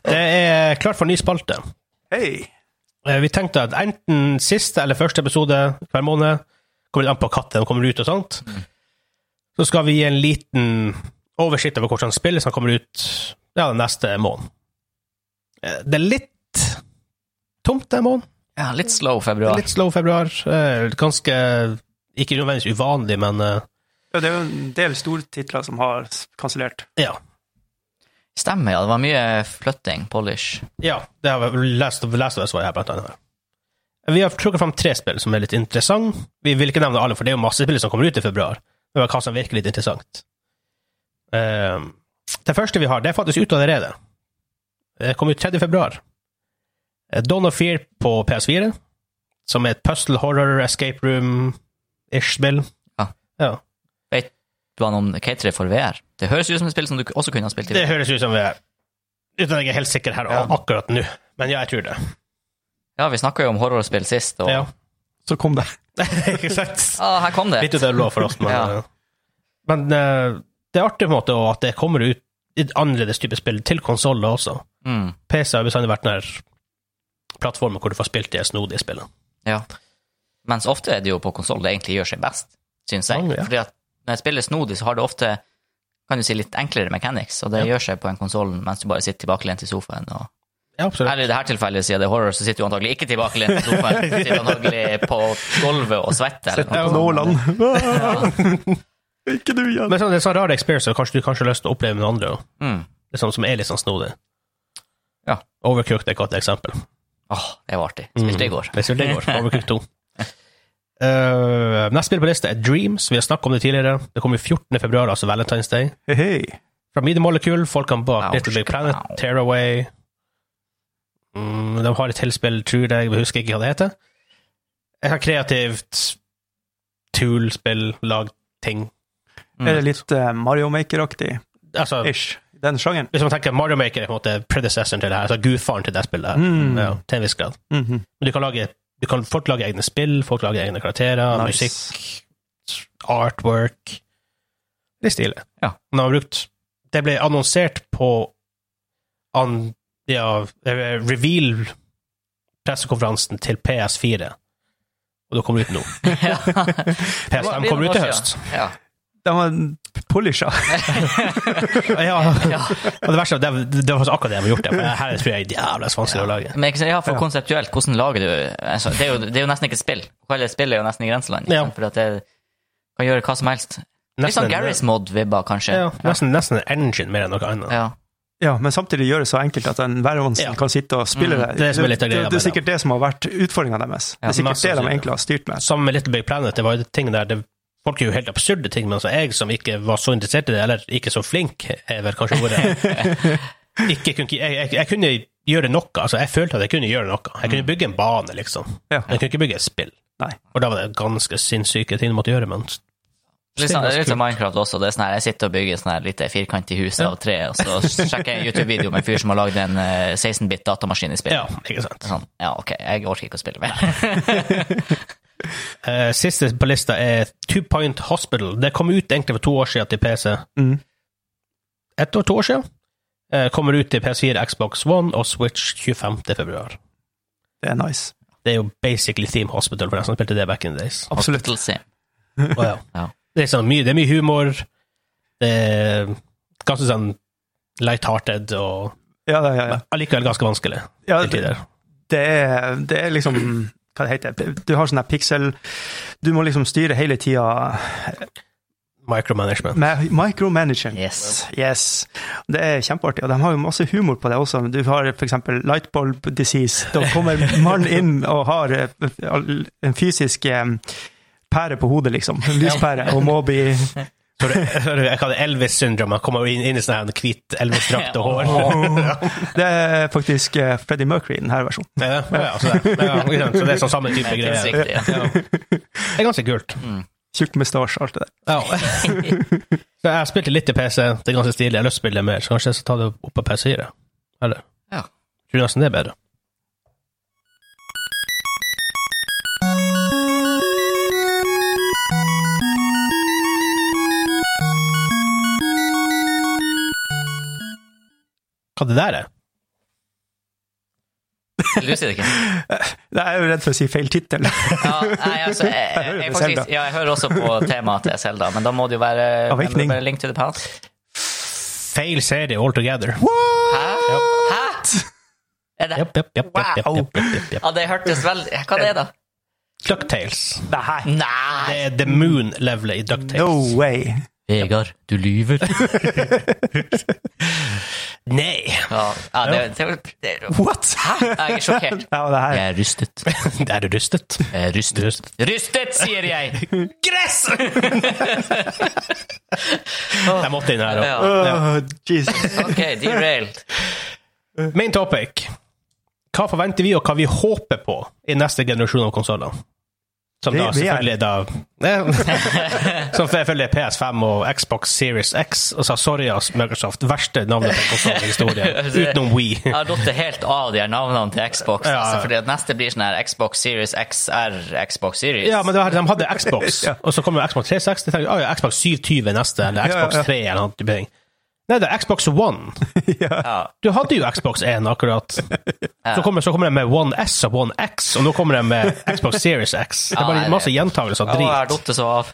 det er klart for ny spalte. hei. Eh, Vi tenkte at enten siste eller første episode hver måned, kommer litt an på katten kommer ut og sånt, Mm. så skal vi gi en liten oversikt over hvordan spillet som kommer ut ja, den neste måneden. Eh, Det er litt tomt den måneden. Ja, litt slow Det er februar. Litt slow februar. eh, Ganske Ikke nødvendigvis uvanlig, men eh, Ja, det er jo en del stortitler som har s- kansellert. ja. Stemmer, ja. Det var mye flytting, polish. Ja, det har vi lest, lest og svaret her, blant annet. Vi har trukket fram tre spill som er litt interessant. Vi vil ikke nevne alle, for det er jo masse spill som kommer ut i februar. Men hva som virker litt interessant. Eh, det første vi har, det er faktisk ute allerede. Det kom ut 3. februar. Eh, Dawn of Fear på PS4, som er et puzzle horror escape room-ish spill. Ja. Vet du han om K3 for VR? Det høres ut som et spill som du også kunne ha spilt i. Det høres ut som vi er Uten at jeg er helt sikker her Ja. akkurat nå, men ja, jeg tror det. Ja, vi snakka jo om horrorspill sist, og Ja. Så kom det. ikke sant? ah, her kom det. Litt ut av det blå for oss, men, eh, Ja. men eh, det er artig på en måte også at det kommer ut et annerledes type spill til konsoller også. Mm, PC har bestandig vært den her plattformen hvor du får spilt de snodige spillene. ja. Mens ofte er det jo på konsoll det egentlig gjør seg best, syns jeg. Ja, ja. Fordi at når jeg spiller snodig, så har det ofte kan du si litt enklere mechanics, og det gjør seg på en konsoll mens du bare sitter tilbakelent i sofaen. Og... Ja, absolutt. Eller i dette tilfellet, siden det er horror, så sitter du antagelig ikke tilbakelent i sofaen, du sitter antagelig på gulvet og svetter. eller noe På sånt. Nåland. Ikke du igjen. Men sånn, det er sånn rar experience, og kanskje du kanskje har lyst til å oppleve med andre også. Mm. Det er sånn som er litt sånn snodig. Ja. Overcooked er et godt eksempel. Åh, det Mm. var artig. Spilte i går. Vi spilte i går. Overcooked 2. Eh, neste spill på lista er Dreams. Vi har snakket om det tidligere. Det kommer 14. februar, altså Valentine's Day. Hei, hei. Fra Media Molecule, folkene bak Ouch. Little Big Planet, Au. Tearaway mm, De har et tilspill, tror jeg, jeg husker ikke hva det heter. Jeg har kreativt tool-spill, lag ting. Mm. Er det litt eh, Mario Maker-aktig? Altså, Ish. Den sjangeren? hvis man tenker Mario Maker er på en måte predecessoren til det her, altså gudfaren til det spillet her, Mm. ja, til en viss grad. Mhm. Men du kan lage du kan, Folk lager egne spill, folk lager egne karakterer, Nice. musikk, artwork Det er stilig. Ja. Men de har brukt Det ble annonsert på an, ja, eh, reveal-pressekonferansen til PS4 og det kommer ut nå. PS5 kommer ut til høst. Ja. De var polisha. Ja, og det verste er at det, det var akkurat det jeg har gjort. Det, for her tror jeg er jævla vanskelig å lage. Men ikke sant, ja, for konseptuelt, hvordan lager du altså, det, er jo, det er jo nesten ikke et spill. Å kalle det et spill er jo nesten i grenseland. Ja. Ja. For at det kan gjøre hva som helst. Litt sånn Garry's Mod-vibber, kanskje. ja, nesten, nesten en engine mer enn noe annet. Ja. Ja, men samtidig gjør det så enkelt at en hvermannsen Ja. kan sitte og spille Mm. det. det er som er litt av greia det, det med er sikkert det som har vært utfordringa deres. Ja, det er sikkert masse det de sikkert. egentlig har styrt med. Sammen med Little Big Planet, det var jo ting der det, Folk gjør jo helt absurde ting, men altså jeg som ikke var så interessert i det, eller ikke så flink, er vel kanskje ordet ikke kunne, jeg, jeg, jeg kunne gjøre noe. altså Jeg følte at jeg kunne gjøre noe. Jeg kunne bygge en bane, liksom. Mm. Ja. Men jeg kunne ikke bygge et spill. Nei. Og da var det ganske sinnssyke ting du måtte gjøre, men Litt sånn, det er litt Kult. som Minecraft også. Det er sånn her, jeg sitter og bygger sånn her lite firkant i huset Ja. av tre, og så sjekker jeg en YouTube-video med en fyr som har lagd en eh, 16-bit datamaskin i spill. Ja, ikke sant. Sånn, ja, ok, jeg orker ikke å spille mer. Eh, siste på lista er Two Point Hospital. Det kom ut egentlig for to år siden til PC. Mm. Ett år, to år siden. Eh, kommer ut til PS4, Xbox One og Switch 25. februar. Det er nice. Det er jo basically Theme Hospital for den som spilte det back in the days. Absolutt. Little Sim. Og ja. Ja. Det, er sånn mye, det er mye humor. Det er ganske sånn light-hearted og Ja, ja, ja. ja. allikevel ganske vanskelig. ja til det, tider. det, er, det er liksom Hva det heter det? Du har sånn der piksel Du må liksom styre hele tida Micromanagement. med micromanaging. Yes. Yes. Det er kjempeartig. Og de har jo masse humor på det også. Du har f.eks. lightbulb disease. Da kommer mannen inn og har eh, en fysisk eh, pære på hodet, liksom. En lyspære. Og må bli Så det, jeg kaller det Elvis syndrome. Man kommer inn, inn i sånn her hvit Elvis-drakt og hår. Det er faktisk eh, Freddie Mercury i denne versjonen. Ja, ja, ja, så, det, ja, ikke sant? så det er sånn samme type Det er Mm. greier. riktig, ja. Ja. Det er ganske kult. Tjukk mustasje, alt det der. Ja. Så jeg spilte litt i PC, det er ganske stilig. Jeg har lyst til å spille mer, så kanskje jeg skal ta det opp på PC4. Eller? Ja. Tror nesten det er bedre. Hva det der er? Vil du si det ikke? Nei, Jeg er jo redd for å si feil tittel. Ja, nei, altså, jeg, jeg, jeg, hører på faktisk, Zelda. ja, jeg hører også på temaet til Selda, men da må det jo være men Awakening. det må være Link to the Past. Feil serie altogether. Hæ? Hæ? Er det? Japp, japp, japp, japp, japp, japp, japp, japp. Ja, det hørtes veldig Hva det er det? DuckTales. Nei, Nei! Det er The Moon-levelet i no DuckTales. way. Vegard, du lyver. Nei! Ja, ja det, det, det, What? Hæ? Jeg er sjokkert. Ja, og det her. Jeg er rystet. Er du rustet? Jeg er rystet. Rust. Rystet, sier jeg! Gress! jeg måtte inn her. Ja, også. Åh, Jesus. ok, derailed. Main topic. Hva forventer vi, og hva vi håper på i neste generasjon av konsoller? Som da Vi- vi er- selvfølgelig er da Som selvfølgelig er PS5 og Xbox Series X. Og så sorry, ass, Microsoft. Verste navnet på konsollen i historien. Altså, Utenom Jeg We. har datt helt av de her navnene til Xbox. Ja, ja. Altså, fordi at neste blir sånn her Xbox Series XR, Xbox Series. Ja, men det var, de hadde Xbox, og så kommer Xbox 360. tenkte jeg, «Å ja, Xbox 720 neste, eller ja, ja. Xbox 3 eller noe. type ting. Nei, det er Xbox One. Ja. Du hadde jo Xbox 1 akkurat. Så kommer, så kommer de med One S og One X, og nå kommer de med Xbox Series X. Det er Ja, bare nei, masse det- gjentagelser og Å, jeg har drit. datt så av.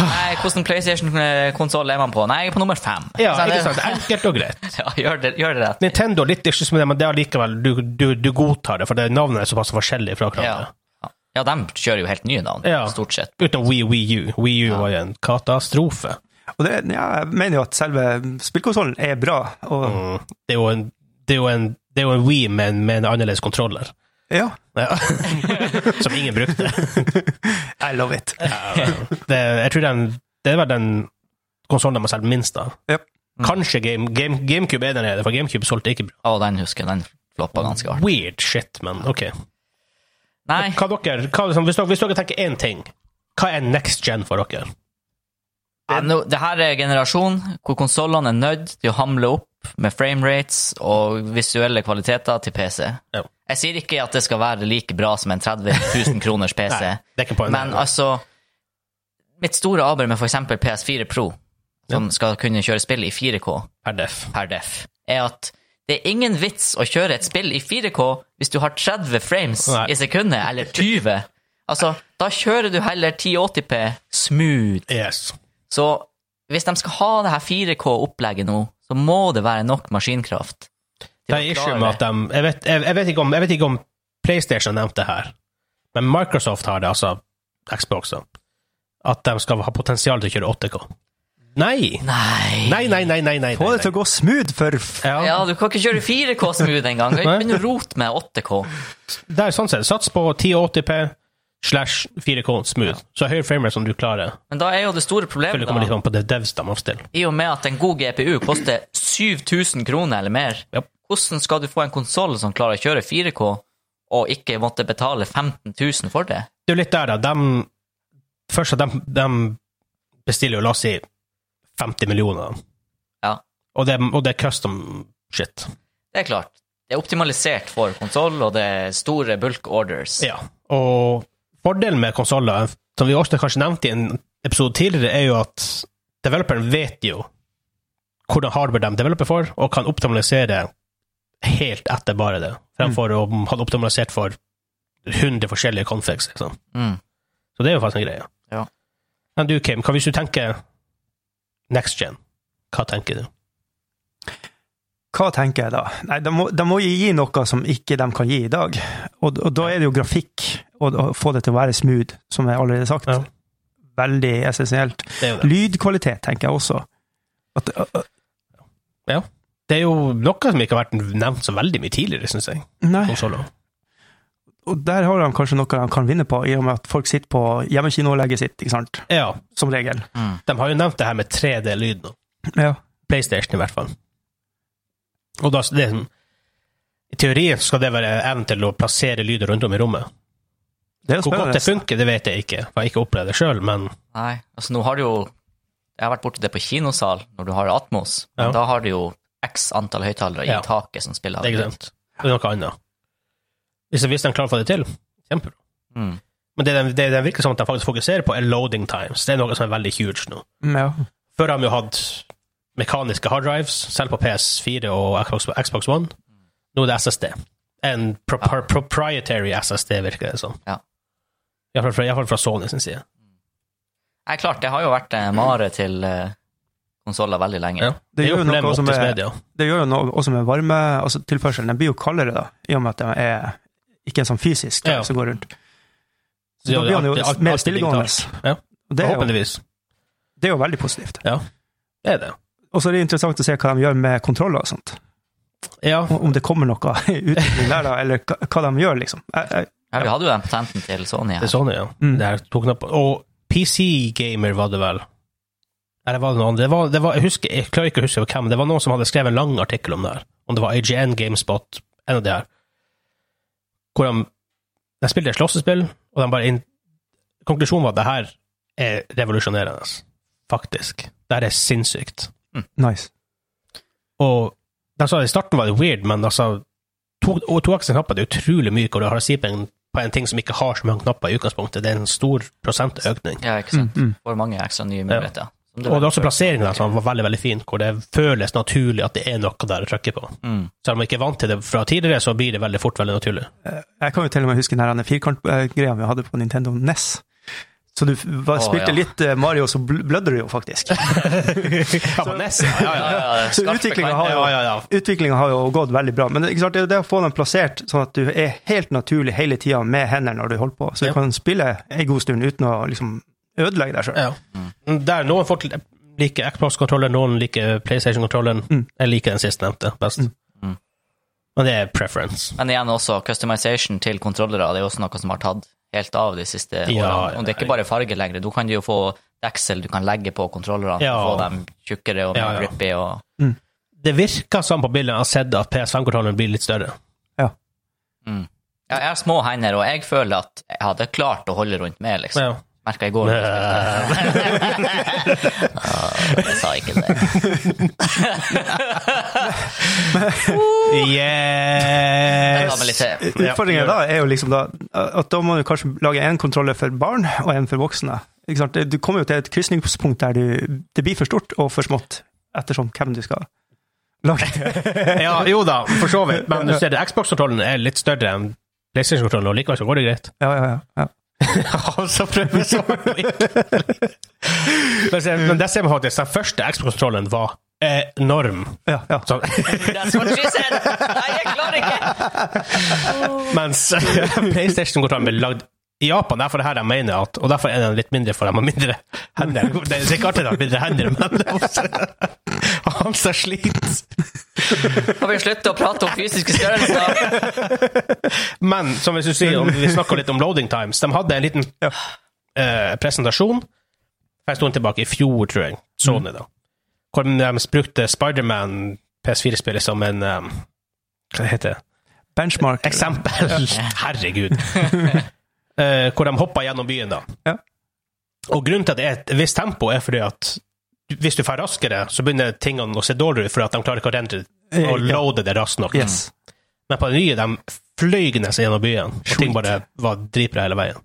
Nei, hvordan PlayStation-konsoll er man på? Nei, jeg er på nummer fem. Ja, Så det- ikke sant? Enkelt og greit. Ja, gjør det, gjør det rett. Nintendo har litt issues med det, men det er likevel, du, du, du godtar det, for det navnet er såpass forskjellig fra Ja. hverandre. ja, de kjører jo helt nye navn, Ja. stort sett. Utenom Wii, Wii U. Wii U var jo en katastrofe. Og det, ja, jeg mener jo at selve spillkonsollen er bra. Og, Det er jo en, det er jo en, det er jo en Wii med, en- med en annerledes kontroller. ja, Ja. Som ingen brukte. I love it. Det, jeg tror den, det var den konsollen de har solgt minst av. Yep. Kanskje game, game, GameCube er der nede, for GameCube solgte ikke bra. Å, den husker jeg, den floppa ganske hardt. Weird shit, men ok. Nei, Hva dere, hva, liksom, hvis, dere, hvis dere tenker én ting, hva er next gen for dere? ja, eh, nå- det her er generasjon hvor konsollene er nødt til å hamle opp med framerates og visuelle kvaliteter til PC. Ja. Jeg sier ikke at det skal være like bra som en 30 000 kroners PC. Nei, det er ikke på en Men altså Mitt store arbeid med f.eks. PS4 Pro, som skal kunne kjøre spill i 4K per def. per def, er at det er ingen vits å kjøre et spill i 4K hvis du har 30 frames Nei. i sekundet, eller 20. Altså, da kjører du heller 1080p smooth. Yes. Så hvis de skal ha det her 4K-opplegget nå, så må det være nok maskinkraft. til Det er å issue klare med at de jeg vet, jeg, jeg, vet ikke om, jeg vet ikke om PlayStation nevnte det her, men Microsoft har det, altså Xbox, da. At de skal ha potensial til å kjøre 8K. Nei! Nei. Nei, nei, nei, nei. nei, Få nei, det til å gå smooth for f- nei. Ja, Ja, du kan ikke kjøre 4K smooth engang. Kan ikke begynne å rote med 8K. det er sånn sett. Sats på 1080P slash 4K smooth. Så høy framerate som du klarer. Men da er jo det store Føler problemet, det kommer litt da, an på det devs de avstiller. i og med at en god GPU koster 7000 kroner eller mer. Ja. Hvordan skal du få en konsoll som klarer å kjøre 4K, og ikke måtte betale 15 000 for det? Det er jo litt der, da. De, først at de, de bestiller jo, la oss si, 50 millioner. Ja. Og det, og det er custom shit. Det er klart. Det er optimalisert for konsoll, og det er store bulk orders. Ja, og fordelen med konsoller, som vi også kanskje nevnte i en episode tidligere, er jo at developeren vet jo hvordan hardware de developer for, og kan optimalisere helt etter bare det, fremfor å ha det optimalisert for 100 forskjellige configs. Liksom. Mm. Så det er jo faktisk en greie. Ja. Men du, Kim, hva hvis du tenker next gen? Hva tenker du? Hva tenker jeg da? Nei, de må, de må jo gi noe som ikke de kan gi i dag. Og, og da er det jo grafikk, og å få det til å være smooth, som jeg allerede har sagt. Ja. Veldig essensielt. Det er jo det. Lydkvalitet, tenker jeg også. At, ø- ø- Det er jo noe som ikke har vært nevnt så veldig mye tidligere, syns jeg. nei, Konsoler. og der har de kanskje noe de kan vinne på, i og med at folk sitter på hjemmekinolegget sitt, ikke sant? Ja, Som regel. Mm. de har jo nevnt det her med 3D-lyd nå. Ja. PlayStation i hvert fall. Og da, det, sånn, I teorien skal det være evnen til å plassere lyder rundt om i rommet. Det er jo Hvor godt det spennende. funker, det vet jeg ikke, for jeg har ikke opplevd det sjøl, men Nei, altså nå har du jo Jeg har vært borti det på kinosal, når du har Atmos. Ja. Da har du jo x antall høyttalere Ja. i taket som spiller. det er ikke sant. Det er noe annet. Hvis, hvis de klarer å få det til, kjempebra. Mm. Men det, det, det virker som at de faktisk fokuserer på, er loading times. Det er noe som er veldig huge nå. Mm, Ja. Før har de jo hatt mekaniske harddrives, selv på PS4 og Xbox, Xbox One. Nå er det SSD. En pro proprietary SSD, virker det som. Ja. Iallfall fra, i hvert fall fra Sony sin side. Nei, klart, det har jo vært eh, mare til eh, konsoller veldig lenge. Ja. Det er jo gjør problemet noe med som Optis er- Media. Det gjør jo noe også med varme, altså tilførselen. Den blir jo kaldere, da, i og med at den er ikke en sånn fysisk Ja. som går rundt. Så Ja, da blir alt- den alt- jo mer alt er digitalt. stillegående. Ja. Og Det er, jo, Forhåpentligvis. det er jo veldig positivt. Det er det. Og så er det interessant å se hva de gjør med kontroller og sånt. Ja. Om om det kommer noe utvikling der, da, eller hva hva de gjør, liksom. Jeg, jeg, Ja, vi hadde jo den patenten til Sony Det er her. Sony, ja. Mm. Det her tok knappen. Og PC Gamer var det vel. Eller var det noen? Det var, det var, jeg, husker, jeg klarer ikke å huske hvem. Det var noen som hadde skrevet en lang artikkel om det her. Om det var IGN, GameSpot, en av de her. Hvor de, de spilte et slåssespill, og de bare inn, konklusjonen var at det her er revolusjonerende. Faktisk. Det her er sinnssykt. nice. Og de sa i starten var det weird, men altså to- og toaksende knapper det er utrolig mye hva du har å si på en, på en ting som ikke har så mange knapper i utgangspunktet. Det er en stor prosentøkning. Ja, ikke Mm, sant. mm. Får mange ekstra nye muligheter. Som Og det er også plasseringen der som var veldig veldig fin, hvor det føles naturlig at det er noe der å trykke på. Mm. Selv om man ikke er vant til det fra tidligere, så blir det veldig fort veldig naturlig. Eh, Jeg kan jo til og med huske den her firkantgreia vi hadde på Nintendo NES. Så du f- var, Å, spilte ja. litt eh, Mario, så bl- blødde du jo faktisk. Ja, men nesten. Ja, Ja, ja, ja. ja, ja, Så skarpe utviklingen kanter. ja, har ja, ja. Utviklinga har jo gått veldig bra, men det, ikke sant, det er jo det å få dem plassert sånn at du er helt naturlig hele tida med hendene når du holder på, så du Ja. kan spille en god stund uten å liksom ødelegge deg sjøl. Ja. Der noen folk liker Xbox-kontroller, noen liker PlayStation-kontrollen. Mm. Jeg liker den sistnevnte best. Mm. Mm. Men det er preference. Men igjen også, customization til kontrollere det er jo også noe som har tatt helt av de siste årene. ja, og det er ikke ja. bare farge lenger. Du kan jo få deksel du kan legge på kontrollerne, Ja. få dem tjukkere og mer Ja, ja. grippy. Og... Det virker som på bildet jeg har sett at PS5-kontrolleren blir litt større. Ja, jeg har små hender, og jeg føler at jeg hadde klart å holde rundt med, liksom. Ja. Eh, Merka i går. Nei. Ah, jeg sa ikke det. Jeg ga meg litt til. Eh, Utfordringen da er jo liksom da at da må du kanskje lage én kontroller for barn og én for voksne. Ikke sant? Du kommer jo til et krysningspunkt der du, det blir for stort og for smått, ettersom hvem du skal lage. ja, jo da, for så vidt. Men du ser det, Xbox-kontrollen er litt større enn PlayStation-kontrollen, og likevel så går det greit. Ja, ja, ja. ja. Og så prøver jeg så hardt å ikke Men se- Men der ser man faktisk den første Xbox-kontrollen var enorm. Ja, ja. Sånn. That's what she said! Nei, jeg klarer ikke! Mens PlayStation-kontrollen ble lagd i Japan, derfor er det her jeg mener at, og derfor er den litt mindre for dem, og mindre hender. Det er ikke artig å ha mindre hender, men det er også- han som sliter. Kan vi slutte å prate om fysiske størrelser? Men som hvis du sier, om vi snakker litt om loading times, de hadde en liten eh, presentasjon for en stund tilbake, i fjor, tror jeg, Sony, da, hvor de brukte Spiderman PS4-spillet som en eh, Hva heter det? Benchmark. Eksempel. Herregud. Eh, hvor de hopper gjennom byen, da. Ja. Og grunnen til at det er et visst tempo, er fordi at hvis du får raskere, så begynner tingene å se dårligere ut, fordi at de klarer ikke å rendre og Eh, Ja. loade det raskt nok. Yes. Men på det nye, de fløy nesten gjennom byen, og ting bare var dritbra hele veien.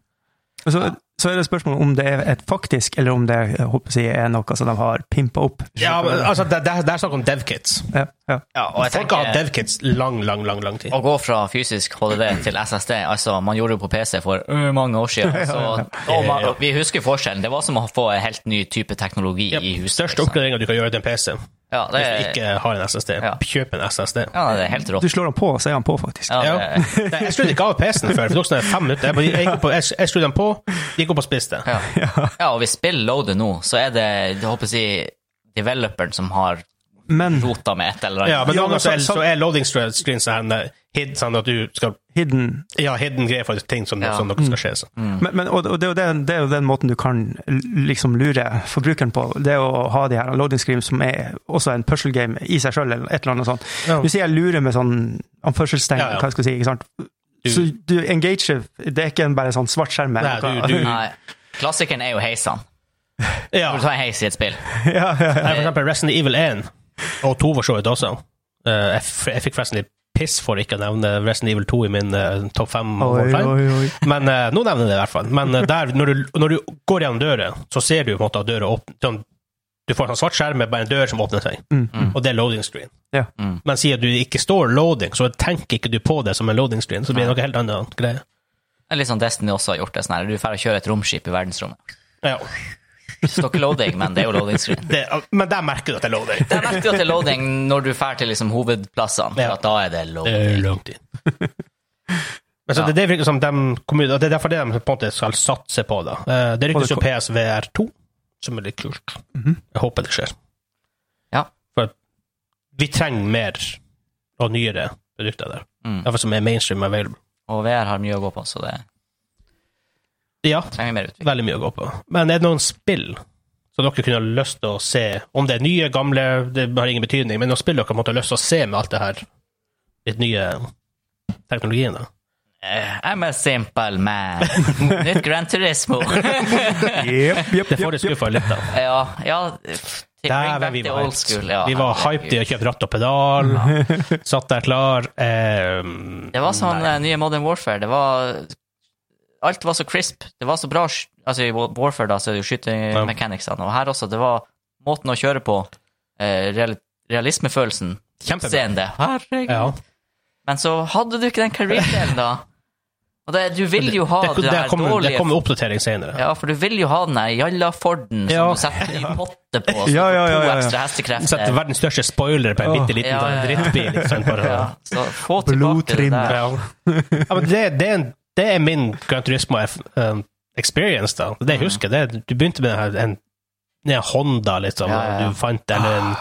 Og Så, så er det spørsmålet om det er et faktisk, eller om det jeg håper jeg, er noe som de har pimpa opp. Ja, men altså, det, det, det er snakk om devkits. Ja, ja. og jeg Folk har hatt tenker- devkits lang, lang, lang lang tid. Å gå fra fysisk HDD til SSD, altså man gjorde det på PC for ø, mange år siden, så og man, og vi husker forskjellen. Det var som å få en helt ny type teknologi i huset. Største liksom. oppgraderinga du kan gjøre til en PC, Ja, det hvis du er, ikke har en SSD, Ja. kjøp en SSD. ja, det er helt rått. Du slår han på, så er han på, faktisk. Ja, Ja. det, Eh, Nei, jeg skrudde ikke av PC-en før, for det tok sånn fem minutter. Jeg, bare, jeg, gikk opp på, jeg, jeg skrudde den på, gikk opp og spiste. ja. ja, og hvis spill loader nå, så er det jeg håper å si, developeren som har Men rota med et eller Ja, annet. men Ja, noen ganger men så, er- så- så er loading screen screen sånn eh, hid, sånn at du skal hidden Ja, hidden greier for ting som, Ja. som noe skal skje. Så. Men, men, og og det, er jo den, det er jo den måten du kan l- liksom lure forbrukeren på. Det er å ha de her loading screens som er også en puzzle game i seg sjøl, eller et eller annet sånt. Ja. Du sier jeg lurer med sånn anførselstegn, Ja, ja. hva skal jeg si, ikke sant? Så du engager, det er ikke en bare sånn svart skjerm. eller Nei, noe. du- du- Nei. Klassikeren er jo heisene. Ja. Nei, Når du tar en heis i et spill. ja, ja, ja. for eksempel Resident Evil 1, og 2 for så vidt også. Eh, jeg, f jeg fikk forresten litt piss for ikke å nevne Resident Evil 2 i min eh, topp fem. Oi, all time. oi, oi. Men eh, nå nevner jeg det i hvert fall. Men eh, der, når, du, når du går gjennom døra, så ser du på en måte at døra åpner. Sånn, du får en sånn svart skjerm med bare en dør som åpner seg, Mm. og det er loading screen. Ja. Mm. Men siden du ikke står loading, så tenker ikke du på det som en loading screen, så blir det noe helt annet greie. Det er Litt sånn Destiny også har gjort det. sånn her. Du er ferdig å kjøre et romskip i verdensrommet. Ja, Det står ikke loading, men det er jo loading screen. det, men der merker du at det er loading. Det er viktig at det er loading når du drar til liksom, hovedplassene, for Ja. at da er det Det loading. er lang tid. Men så det, det virker som de kommunene, og det er derfor det de på en måte skal satse på. da. Eh, Det ryktes jo PSVR2, som er litt kult. Mhm. Jeg håper det skjer. Ja. For vi trenger mer og nyere produkter der. Mm. Derfor som er mainstream available. Og VR har mye å gå på, så det Ja, trenger mer utvikling. veldig mye å gå på. Men er det noen spill som dere kunne ha lyst til å se, om det er nye, gamle, det har ingen betydning, men noen spill dere måtte ha lyst til å se med alt det her, litt nye teknologien da? Eh, I'm a simple man. Nytt Gran Turismo. Jep, jep, Det jep, får jeg jep. skuffa litt av. ja, ja til- bring Dæven, back vi the var old school, ja. hyped. Vi var hyped i å kjøpe ratt og pedal. Satt der klar. Eh, Det var sånn eh, nye Modern Warfare. Det var Alt var så crisp. Det var så bra sk- Altså, i Wa- Warfare, da, så er det jo skytemekanicsene, og her også. Det var måten å kjøre på. Eh, real, realismefølelsen. Kjempebra. Seende. Herregud. Ja. Men så hadde du ikke den career-delen, da. Og det, du vil jo ha Det, det, det, her kommer, det dårlige kommer oppdatering senere. Ja, for du vil jo ha den der jalla Forden som Ja. du setter i potte på, så du Ja, ja, får ja, ja, to ja. ekstra hestekrefter. Sette verdens største spoiler på en Åh. bitte liten Eh. sånn Ja, ja, ja. drittbil. liksom, ikke sant, bare- ja, så få tilbake det Blodtrim. der. Ja. Ja, men det, det, er en- det er min Gran Turismo eh, experience, da. Det Mm. jeg husker, det er- du begynte med den her- en, en Honda, liksom. Ja, ja, Ah. ja. Du fant eller en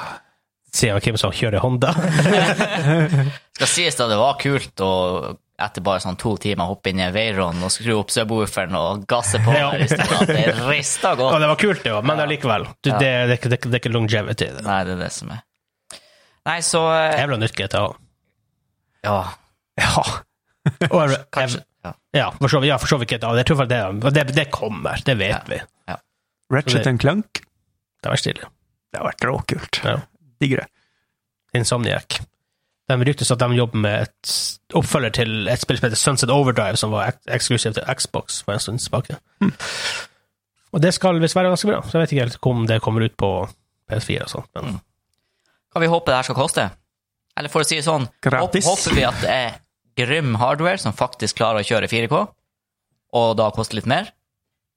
Sier hvem som kjører Honda? Skal sies da, det var kult å etter bare sånn to timer hoppe inn i en Veyron og skru opp subwooferen og gasse på. Ja. der i stedet. Det rister Og godt. det var kult, det òg, men allikevel. Du, Ja. det, det, er ikke- det, er ikke- det er ikke longevity i det. Nei, det er det som er. Nei, så eh, Jævla nytt GTA. Ja, Ja. Og jeg, kanskje. Ja. ja, for så vidt. Ja, for så vidt GTA. Jeg tror vel det, og det, det kommer, det vet vi. Ratchet and Clunk. Det var stilig. Det har vært råkult. Ja. Digger det. Insomniac. De ryktes at de jobber med et oppfølger til et spill som heter Sunset Overdrive, som var ek eksklusivt til Xbox for en stund tilbake. Og det skal visst være ganske bra, så jeg vet ikke helt om det kommer ut på PS4 og sånt, men Kan vi håpe det her skal koste? Eller for å si det sånn, håp- Gratis. håper vi at det er grym hardware som faktisk klarer å kjøre 4K, og da koster litt mer?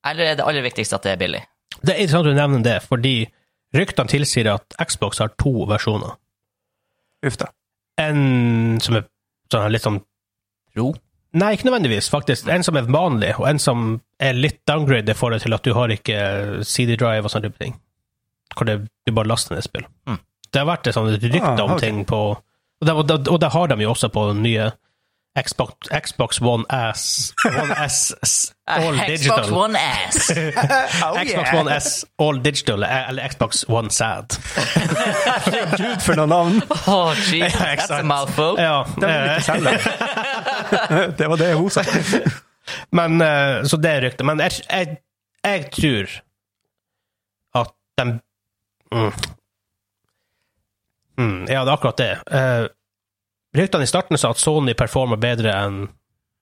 Eller er det aller viktigste at det er billig? Det er interessant du nevner det, fordi ryktene tilsier at Xbox har to versjoner. Uff da. En som er sånn, litt sånn Ro? Nei, ikke nødvendigvis, faktisk. En som er vanlig, og en som er litt downgrade i forhold til at du har ikke eh, CD-drive og sånne type ting. Hvor det, du bare laster ned spill. Mm. Det har vært et sånt rykte Ah, om ok. ting på og det, og, det, og det har de jo også på den nye Xbox, Xbox One S One S S- All Digital. Xbox One Oh, ass! Xbox One S All Digital, eh, eller Xbox One Sad. Gud, for noen navn! Oh, Jesus, Ja, that's a exakt. mouthful. Ja, Det var eh, ikke Det var det hun sa. Men, eh, så det er ryktet. Men jeg, jeg, jeg tror at de mm. Mm, Ja, det er akkurat det. Eh, ryktene i starten sa at Sony performer bedre enn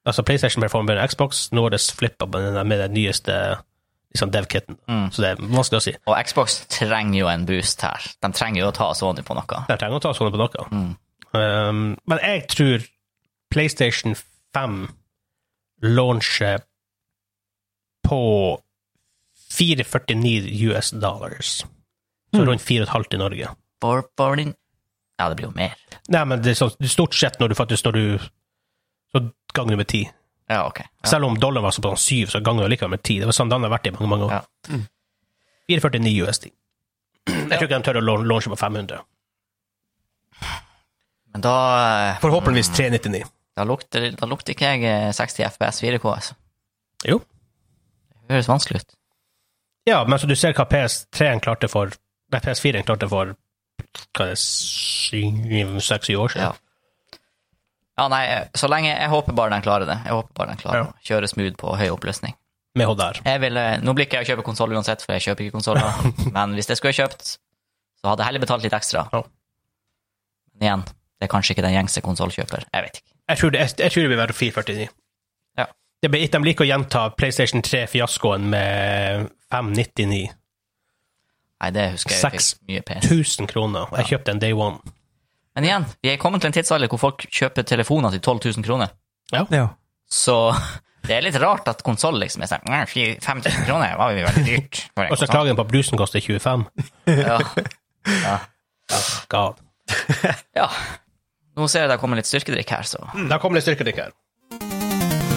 Altså PlayStation performer bedre enn Xbox. Nå er det flippa med den- med den nyeste liksom, dev-kitten. Mm. Så det er vanskelig å si. Og Xbox trenger jo en boost her. De trenger jo å ta Sony på noe. De trenger å ta sånne på noe. Mm. Um, men jeg tror PlayStation 5 launcher på 449 US dollars. Så Mm. rundt 4,5 i Norge. Bor, boring. Ja, det blir jo mer. Nei, men det er sånn, stort sett når du faktisk når du Så ganger du med ti. Ja, ok. Ja. Selv om dollaren var så på sånn syv, så ganger du likevel med ti. Det var sånn den har vært i mange mange år. Ja. 449 USD. Jeg tror ikke de tør å laun- launche på 500. Men da, eh, Forhåpentligvis 399. da, lukter, da lukter ikke jeg eh, 60 FPS 4K, altså. Jo. Det høres vanskelig ut. Ja, men så du ser hva PS3-en klarte for Nei, PS4-en klarte for hva er det, syv-seks år Ja. siden. Ja, nei, eh, så lenge Jeg håper bare den klarer det. Jeg håper bare den klarer Ja. å kjøre smooth på høy oppløsning. Med HDR. Jeg ville, Nå blir ikke jeg å kjøpe konsoll uansett, for jeg kjøper ikke konsoller. men hvis jeg skulle kjøpt, så hadde jeg heller betalt litt ekstra. Ja. Men igjen, det er kanskje ikke den gjengse konsollkjøper. Jeg vet ikke. Jeg tror det, jeg, jeg tror det vil være 449. Ja. Det blir, de liker å gjenta PlayStation 3-fiaskoen med 599. Nei, det husker jeg Seks. fikk mye PS. 1000 kroner. Jeg kjøpte en day one. Men igjen, vi er kommet til en tidsalder hvor folk kjøper telefoner til 12 000 kroner. Ja. Så det er litt rart at konsoll liksom er sånn «Nei, fy- 5000 kroner var jo veldig dyrt. For en Og så konsoll». klager de på at blusen koster 25. Ja. God. ja. Nå ser jeg det kommer litt styrkedrikk her, så Da kommer det styrkedrikk her.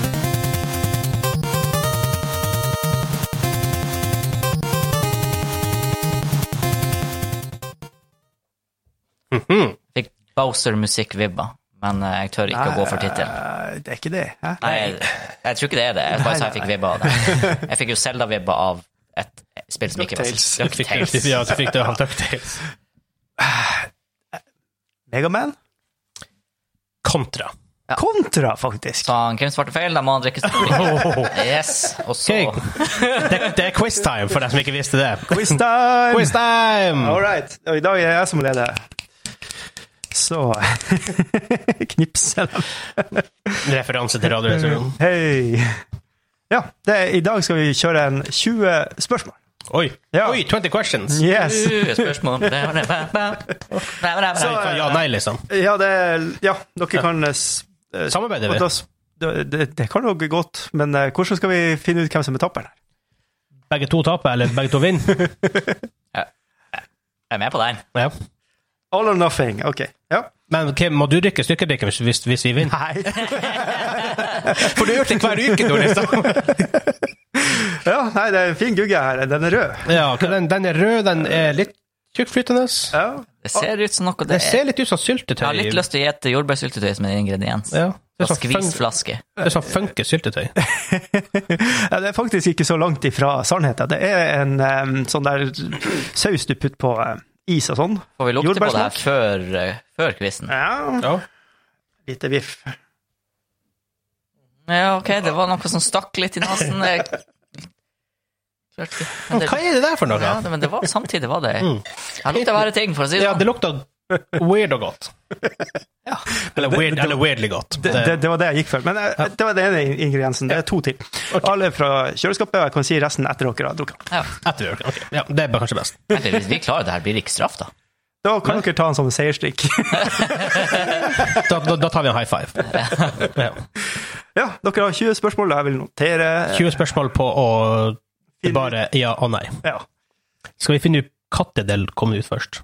Mhm. fikk Bowser-musikk-vibba. Men eh, jeg tør ikke å gå for tittelen. Eh, Det er ikke det. Hæ? Nei, jeg, jeg tror ikke det er det. Jeg bare sa jeg fikk vibba av det. Jeg fikk jo Zelda-vibba av et spill som ikke var DuckTales. Fikk DuckTales. du- Ja, så fikk du han DuckTales. Megaman? Kontra. Kontra, faktisk! Så han Kim svarte feil, da må han drikke styrkedrikk. Yes. Og så Ok. Det, det er quiz time, for deg som ikke visste det. Quiz time! Quiz time! All right. Og i dag er jeg som leder. Så Knipser dem. Referanse til Radioresepsjonen. Hei. Ja, det, er- i dag skal vi kjøre en 20 spørsmål. Oi. Ja. Oi, 20 questions! Yes. Uh, Spørsmål Så Ja, nei, liksom. Ja, det er- Ja, dere kan eh, s- eh, Samarbeider og vi? da s- det, det, det kan dere godt, men eh, hvordan skal vi finne ut hvem som er tapperen? her? Begge to taper, eller begge to vinner? Jeg er med på den. Ja. All or nothing. OK. Ja. Men Kim, må du drikke styrkedrikken hvis, hvis, hvis vi vinner? Nei. For du har gjort det hver uke, nå, liksom! Ja, nei, det er en fin gugge her. Den er rød. Ja, den, den er rød, den er litt tjukkflytende. Ja. Det ser ut som noe det Det er. ser litt ut som Jeg syltetøy. har litt lyst til å gjette jordbærsyltetøy som en ingrediens. Ja. Det Og er sånn funk- skvisflaske. det er sånn funky syltetøy. Ja, det er faktisk ikke så langt ifra sannheten. Det er en em, sånn der saus du putter på em, is og sånn. Får vi lukte på det her Jordbærsmak? før, eh, før quizen? Ja, Ja. lite viff. Ja, OK, det var noe som stakk litt i nesen. Jeg... Men det- Hva er det der for noe? Ja, det- men det var, samtidig var det Jeg lukta verre ting, for å si det Mm. Ja, det sånn. lukter weird og godt. Eller, weird, eller weirdly godt. Det, det, det var det jeg gikk for. Men eh, det var den ene ingrediensen. Det er to til. Alle fra kjøleskapet, og jeg kan si resten etter dere har drukket. Ja. Etter vi gjør det. ok. Ja, det er kanskje best. Men Hvis vi klarer det her, blir det ikke straff, da? Da kan dere ta en sånn seiersdrikk. Da, da, da tar vi en high five. Ja. Ja, dere har 20 spørsmål, og jeg vil notere 20 spørsmål på å bare ja og nei. Ja. Skal vi finne ut kattedel kom ut først?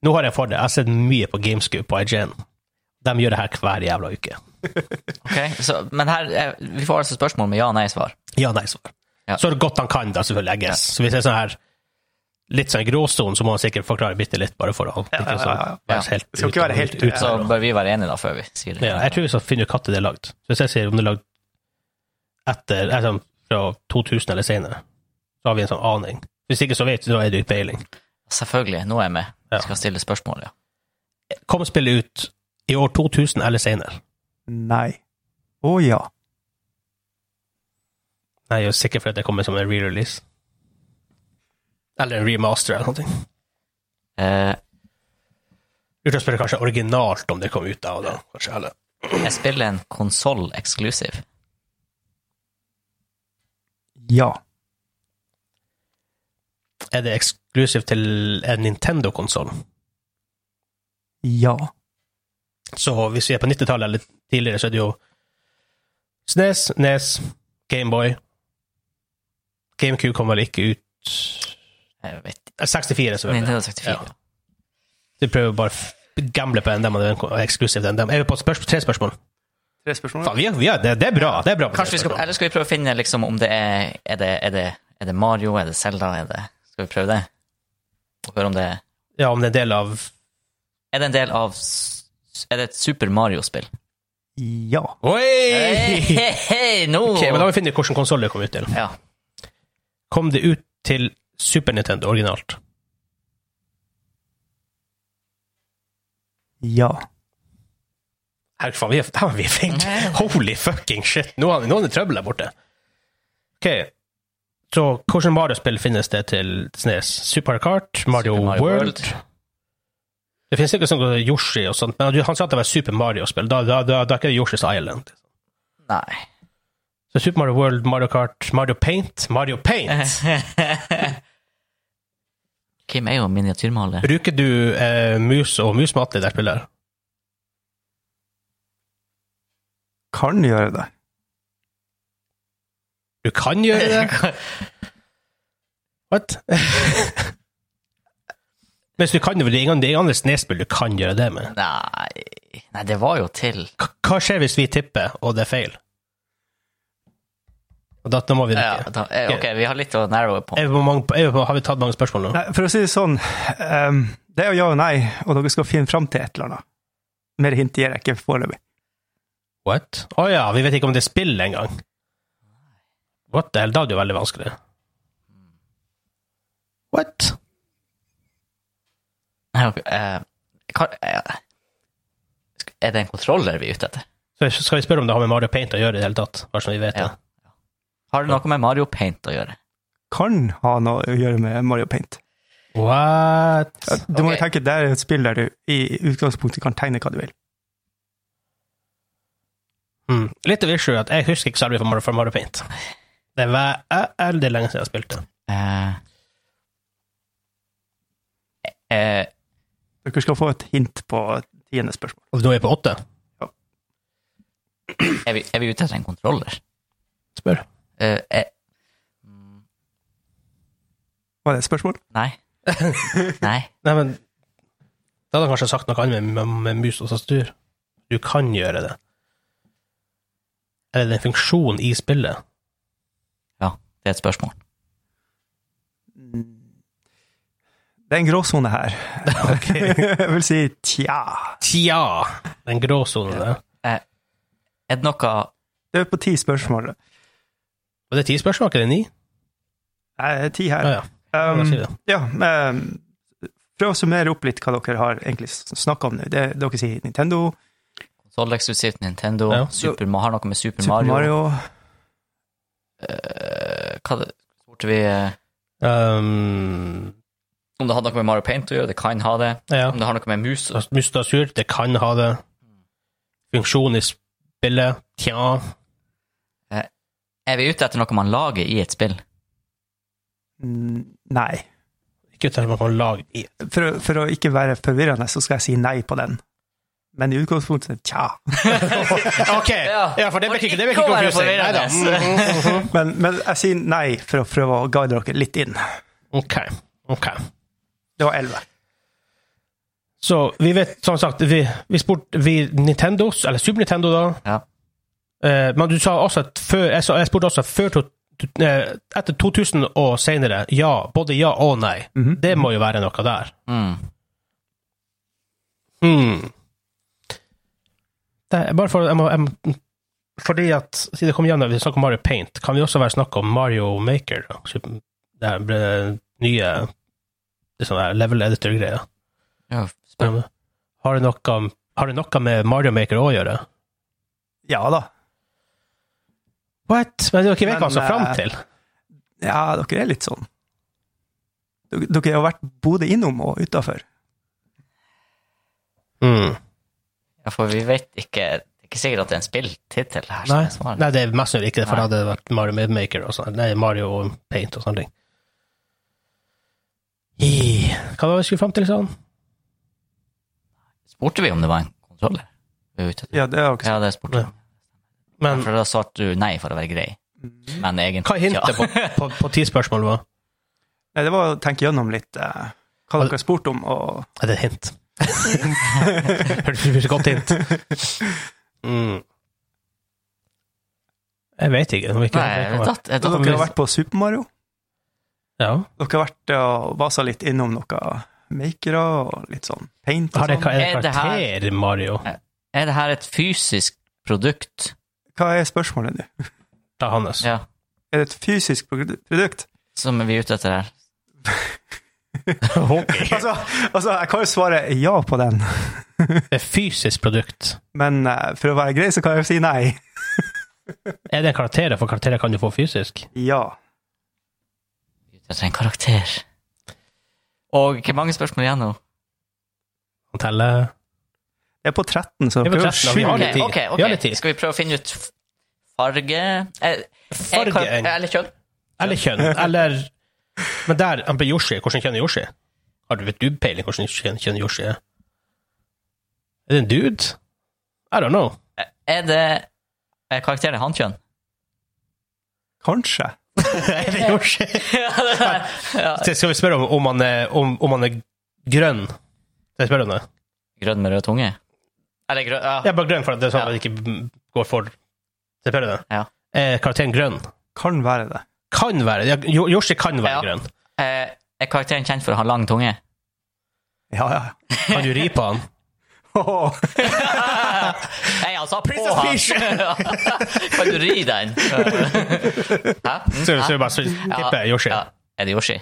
Nå har jeg en fordel. Jeg har sett mye på Gamescoop på IGN. De gjør det her hver jævla uke. Ok, så, men her, er- vi får altså spørsmål med ja- og nei-svar. Ja, nei, svar. Ja. Så godt han kan, da, selvfølgelig. I guess. Så hvis det er sånn her litt sånn gråsone, så må han sikkert forklare bitte litt, bare for å ja, ja, ja. Helt Det skal ikke ut- være helt ut- ute. Så bør vi være enige da, før vi sier det. Ja, jeg tror vi skal finne ut når det er lagd. Så hvis jeg sier om det er lagd etter altså, fra 2000 eller senere, så har vi en sånn aning. Hvis ikke så vet vi, da er det jo ikke peiling. Selvfølgelig, nå er jeg med. Ja. Jeg skal stille spørsmål, ja. Kom spillet ut i år 2000 eller senere? Nei. Å ja. Nei, jeg er sikker for at det kommer som en re-release. Eller en remaster eller noe. Eh, Uten å spørre kanskje originalt om det kom ut da og da. Kanskje heller. jeg spiller en konsoll-eksklusiv. Ja. Er det eksklusivt til en Nintendo-konsoll? Ja. Så hvis vi er på 90-tallet eller tidligere, så er det jo E SNES, NES, Gameboy. GameCube kom vel ikke ut Jeg vet ikke. Eh, 64, selvfølgelig. Nintendo 64. Ja. Du prøver bare å f- gamble på en dem, og det er eksklusivt en dem. Er vi på spørsmål, tre spørsmål? Tre spørsmål. Faen, vi er, vi er, det, det er bra. Det er bra på tre Kanskje vi skal, spørsmål. eller skal vi prøve å finne liksom, om det er er det, er det er det Mario, er det Zelda, er det Skal vi prøve det? Og høre om det Ja, om det er en del av Er det en del av s- Er det et Super Mario-spill? Ja. Oi! Hei, hei, hei, nå Ok, men Da må vi finne ut hvilken konsoll det kom ut til. Ja. Kom det ut til Super Nintendo originalt? Ja. Her, faen, vi er, her er vi flinke. Holy fucking shit. Nå har vi noen trøbbel der borte. Ok, så hvordan Mario-spill finnes det til Snes? Super Mario Kart, Mario, Super Mario World. World. Det finnes ikke sånn Yoshi og sånt, men du- han sa at det var Super Mario-spill. Da, da, da, da er ikke det Yoshi's Island. Nei. Så Super Mario World, Mario Kart, Mario Paint, Mario Eh. Paint. Kim er jo miniatyrmaler. Bruker du eh, mus og musmatte i det spillet? her? Kan gjøre det. Du kan gjøre det. What? Hvis du kan det, for det er ingen, det er ingen andre snespill du kan gjøre det med. Nei Nei, det var jo til K- Hva skjer hvis vi tipper, og det er feil? Og da, da må vi ja, nikke. da, eh, Ok, vi har litt å narrowe på. Er vi på mange, er vi på, har vi tatt mange spørsmål nå? Nei, for å si det sånn, ehm, det er jo ja og nei, og dere skal finne fram til et eller annet. Mer hint gir jeg ikke foreløpig. What? Å ja, vi vet ikke om det er spill engang. What the hell? Da er det jo veldig vanskelig. What? Nei, ok, eh, hva- eh, sk- Er det en kontroller vi er ute etter? Så skal vi spørre om det har med Mario Paint å gjøre i det hele tatt? Bare så vi vet det. Ja. Har det noe med Mario Paint å gjøre? Kan ha noe å gjøre med Mario Paint. What? Du Ok. må jo tenke, det er et spill der du i utgangspunktet kan tegne hva du vil. Mm. Litt av issue er at jeg husker ikke så mye fra Mario, fra Mario Paint. Det var eh, veldig lenge siden jeg spilte. Eh, eh, Dere skal få et hint på tiende spørsmål. Og nå er jeg på åtte. er, vi, er vi ute etter en kontroller? Spør. Eh, eh, Var det et spørsmål? nei. Nei. Nei, men Da hadde han kanskje sagt noe annet med, med, med mus og tastatur. Du kan gjøre det. Eller det er en funksjon i spillet. Ja, det er et spørsmål. Det er en gråsone her. jeg vil si tja. Tja! Den gråsonen der. Er det noe Det er på ti spørsmål. Og det er ti spørsmål, ikke det er ni? Nei, det er ti her. Ja, ja. Um, da sier vi det. ja, um, prøv å summere opp litt hva dere har egentlig snakka om nå. Det, dere sier Nintendo, Soleksklusivt Nintendo, Ja. Super, har noe med Super, Super Mario, Mario, Eh, Hva det- spurte vi eh, Um, om det hadde noe med Mario Paint å gjøre? Det kan ha det. ja. Om det har noe med mus Tas- Mus og tastatur, det kan ha det. Funksjon i spillet, tja. Er vi ute etter noe man lager i et spill? Mm, Nei. Ikke ut at man kan lage i For, å- for å ikke være forvirrende, så skal jeg si nei på den. Men i utgangspunktet tja. OK! Ja. Ja, for det virker ikke det virker Ikke å være confusing. Neida. forvirrende. Mm, mm, mm. Men, men jeg sier nei for å prøve å guide dere litt inn. Mm. OK. ok. Det var 11. Så vi vet, som sagt, vi, vi spurte vi Nintendo, eller Super Nintendo da, Ja. eh, men du sa også at før, jeg, sa, jeg spurte også før, to- to- eh, etter 2000 og senere, ja, både ja og nei. Mhm. Det må jo være noe der. Mm. Hmm. Det er bare for, jeg må, jeg, må- fordi at, siden det kom igjen da vi snakket om Mario Paint, kan vi også være snakk om Mario Maker, da? Super- det her ble nye det sånne her level editor-greier. Ja, spør- Har det noe, har det noe med Mario Maker å gjøre? Ja da. What? Men dere vet Men, hva han skal fram eh, til? Ja, dere er litt sånn. Dere, dere har vært både innom og utafor. Hmm. ja, for vi vet ikke Det er ikke sikkert at det er en spilltittel her. som Nei. er svaret. Nei, det er mest sannsynlig ikke det, for da Nei. hadde det vært Mario Midmaker og sånn. Nei, Mario og Paint og sånne ting. I- Hva var det vi skulle fram til, sa han? Spurte vi om det var en kontroller? Vi var ute etter- Ja, det har dere Ja, det spurte vi. Ja. Men For da svarte du nei for å være grei. Mm. Men egentlig hva hintet på, på, på ti spørsmål var? Nei, det var å tenke gjennom litt eh, hva dere har spurt om, og Er det et hint? Hørtes ut som et godt hint. Mm. Jeg vet ikke. om vi ikke- Nei, jeg datt, jeg datt, dere har vært på Super Mario. Ja. Dere har vært og vasa litt innom noe makere og litt sånn paint Har og det, sånn. er det Er det her- karakter, Mario? Er det her et fysisk produkt? Hva er spørsmålet nå? Da, Hannes. Ja, Er det et fysisk produ- produkt? som vi er ute etter her. Ok. Altså, altså, jeg kan jo svare ja på den, Det er fysisk produkt. men eh, for å være grei, så kan jeg jo si nei. Er det en karakter? For karakterer kan du få fysisk. Ja. Vi er ute etter en karakter. Og hvor mange spørsmål igjen nå? Han teller Jeg er på 13, så Jeg er på prøv å 13, og vi skyve har Ok, litt tid. ok, ok. Vi har litt tid. Skal vi prøve å finne ut f- farge Er- er Farge kar- er en- Eller kjønn? Eller kjønn. Eller Men der han ble Yoshi. Hvordan kjønn er Yoshi? Har du vet du peiling hvordan kjønn kjønn Yoshi er? Er det en dude? I don't know. Er det er karakteren hannkjønn? Kanskje. er det Yoshi? Ja, det er- ja. Så Skal vi spørre om, om, han, er, om, om han er grønn? Skal jeg spørre om det? Grønn med rød tunge? Eller grønn ja. Jeg er bare grønn for at det er sånn Ja. at det ikke går for Skal jeg spørre det? Ja. Er karakteren grønn? Kan være det. Kan være ja, Yo- Yoshi kan være Ja. grønn. Eh, Er karakteren kjent for å ha lang tunge? Ja, ja. Kan du ri på han? Åh, Nei, han sa på Princess altså, han. Peach! Ja. Kan du ri den? Hæ? Mm, Så, hæ? så vi bare så, tipper jeg Yoshi. Ja. Er det Yoshi?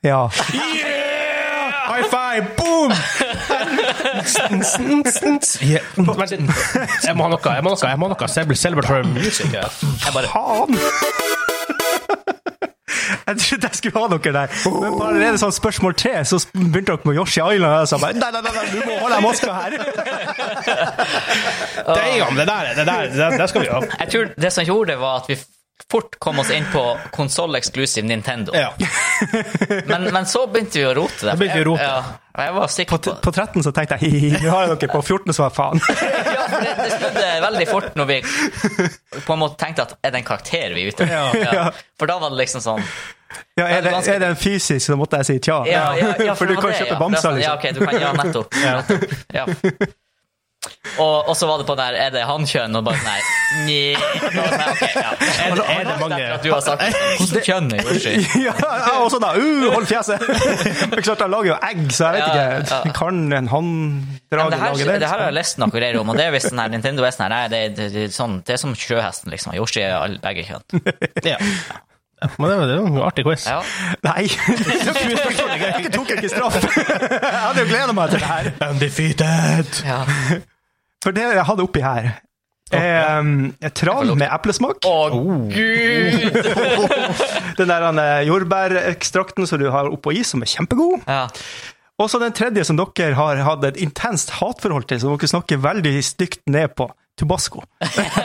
ja. High five! Boom! Yeah. Vent litt. Jeg må ha noe. Jeg må ha noe. Jeg må ha noe. Celebr- Celebratory music. her. Jeg bare Faen! Jeg trodde jeg skulle ha dere der, men på allerede sånn spørsmål tre, så begynte dere med Yoshi Island, og jeg sa bare nei, nei, nei, nei, du må holde deg maska her. Damn, det der, det der, det der det skal vi ha. Jeg tror det som gjorde det, var at vi fort kom oss inn på konsoll-exclusive Nintendo. Ja. Men, men så begynte vi å rote det. Da begynte vi å rote. Ja, og jeg var På, sikker t på på 13 så tenkte jeg hi-hi, nå har jeg dere på 14, så var jeg faen. Ja, for det, det snudde veldig fort når vi på en måte tenkte at er det en karakter vi er ute Ja. etter? Ja. For da var det liksom sånn Ja, er det, er det en fysisk, så måtte jeg si tja. Ja, ja, ja, For du det var kan det, kjøpe ja. bamser, Ja, liksom. ok, du kan, ja nettopp. nettopp. Ja. Og, og så var det på der Er det hankjønn? Og bare nei. Nei. Nei, ok, ja. Er, det- er det mange At du har sagt Hvordan kjønn er Yoshi? liksom. Ja, jeg også da. Uh, hold fjeset! Men klart, han lager jo egg, så Ja, jeg ja, vet ja. ikke. Kan Men en hanndrage det, her, lage det? liksom. det her har jeg lest noe greier om, og det er visst sånn her Nintendo er sånn her Nei, det, det, det, er sånn, det er som sjøhesten, liksom. Yoshi er all, begge kjønn. ja. Men det var- det var en artig quiz. Ja. Nei! Dere tok ikke straff! Jeg hadde jo gleda meg til det her. Undefeated! ja. For det jeg hadde oppi her er um, tran med eplesmak. Å, Oh. gud! Den der eh, jordbærekstrakten som du har oppå is, som er kjempegod. Ja. Og så den tredje som dere har hatt et intenst hatforhold til, som dere snakker veldig stygt ned på. Tobasco.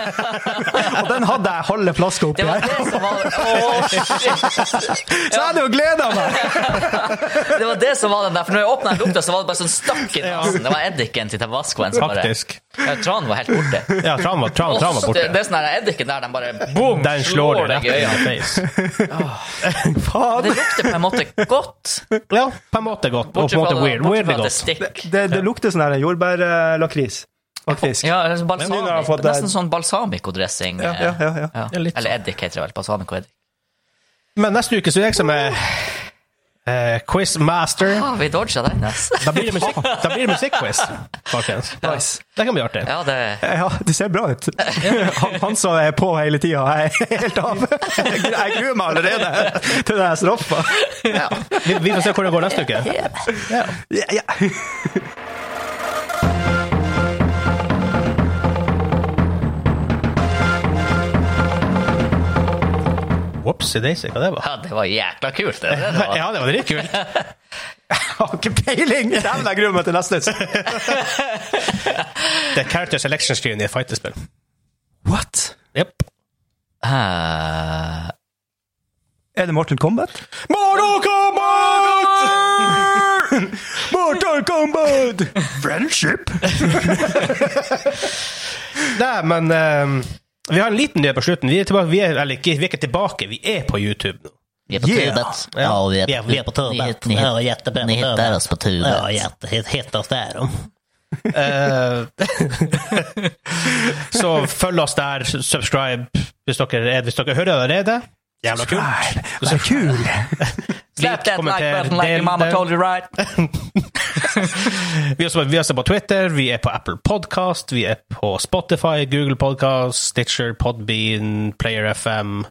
og den hadde jeg halve flaska oppi Det var her. det som var Åh, shit! Så jeg hadde jo gleda meg! Det var det som var den der, for når jeg åpna lukta, så var det bare sånn stakk i nesen. Det var eddiken til tabascoen som bare Faktisk. ja, Tran var helt borte. Ja, tran var, tran, tran var Åh, det, borte. det er sånn der eddiken der, den bare Boom! Den slår slår deg deg i rett i face. Faen! Det lukter på en måte godt, Ja, på en måte godt. Og på en bortsett fra, måte weird. det, bortsett Weirdly fra at det godt. stikker. Det, det lukter sånn her jordbærlakris, faktisk. Ja, eller sånn Men nå har jeg balsamico. fått det- Nesten sånn balsamico-dressing. Ja, ja, ja, ja. Ja. Ja, litt sånn- Eller eddik, heter det vel. Balsamico-eddik. Men neste uke så er jeg som er eh, quizmaster. Ah, vi dodga den, ass. Da blir det musikk- da blir det musikkquiz, folkens. Nice. Det kan bli artig. Ja, det Ja, det ser bra ut. Han, han som er på hele tida, jeg er helt av. Jeg gruer meg allerede til den her straffa. Vi, vi får se hvordan det går neste uke. Ja, ja. Whoopsie daisy, hva det var? Ja, det var jækla kult, det. det var. Ja, det var dritkult. Jeg har ikke peiling! Dæven, jeg gruer meg til neste. Det er character selection screen i et fighterspill. What? Yep. Eh, Er det Mortal Kombat? Mortal Kombat! Mortal Kombat! Friendship? Nei, men ehm, vi har en liten nyhet på slutten. Vi er tilbake, vi er, eller ikke, vi er ikke tilbake, vi er på YouTube nå. Vi är på Yeah. tubet. Ja. Ja, vi Vi är, är, vi är på Turbet. Ni, ni, Ja, jättebra ni, på ni hittar Turbet. oss på tubet. Ja, jätte, hitta oss där. då. Eh, så følg oss der, subscribe hvis dere, er- hvis dere hører allerede. Jævla kult. Det er kul! Slap that like kommenter, button like del your mama det. told you right. Vi er, også, vi er også på Twitter, vi er på Apple Podcast, vi er på Spotify, Google Podcast, Stitcher, Podbean, Player FM,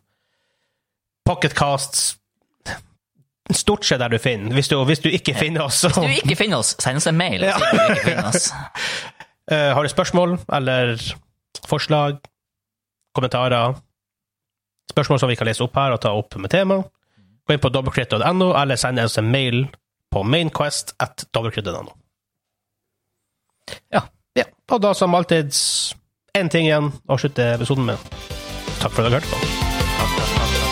Pocketcasts Stort sett der du finner. Hvis du, hvis du ikke finner oss, så Hvis du ikke finner oss, send oss en mail. og sier du ikke finner oss. Eh, har du spørsmål eller forslag, kommentarer, spørsmål som vi kan lese opp her og ta opp med tema, gå inn på dobbeltkritt.no, eller send oss en mail på mainquest at dobbeltkritt.no. Ja, ja. Og da som alltid, én ting igjen å slutte episoden med. Takk for at dere hørte på. Takk, takk, takk, takk.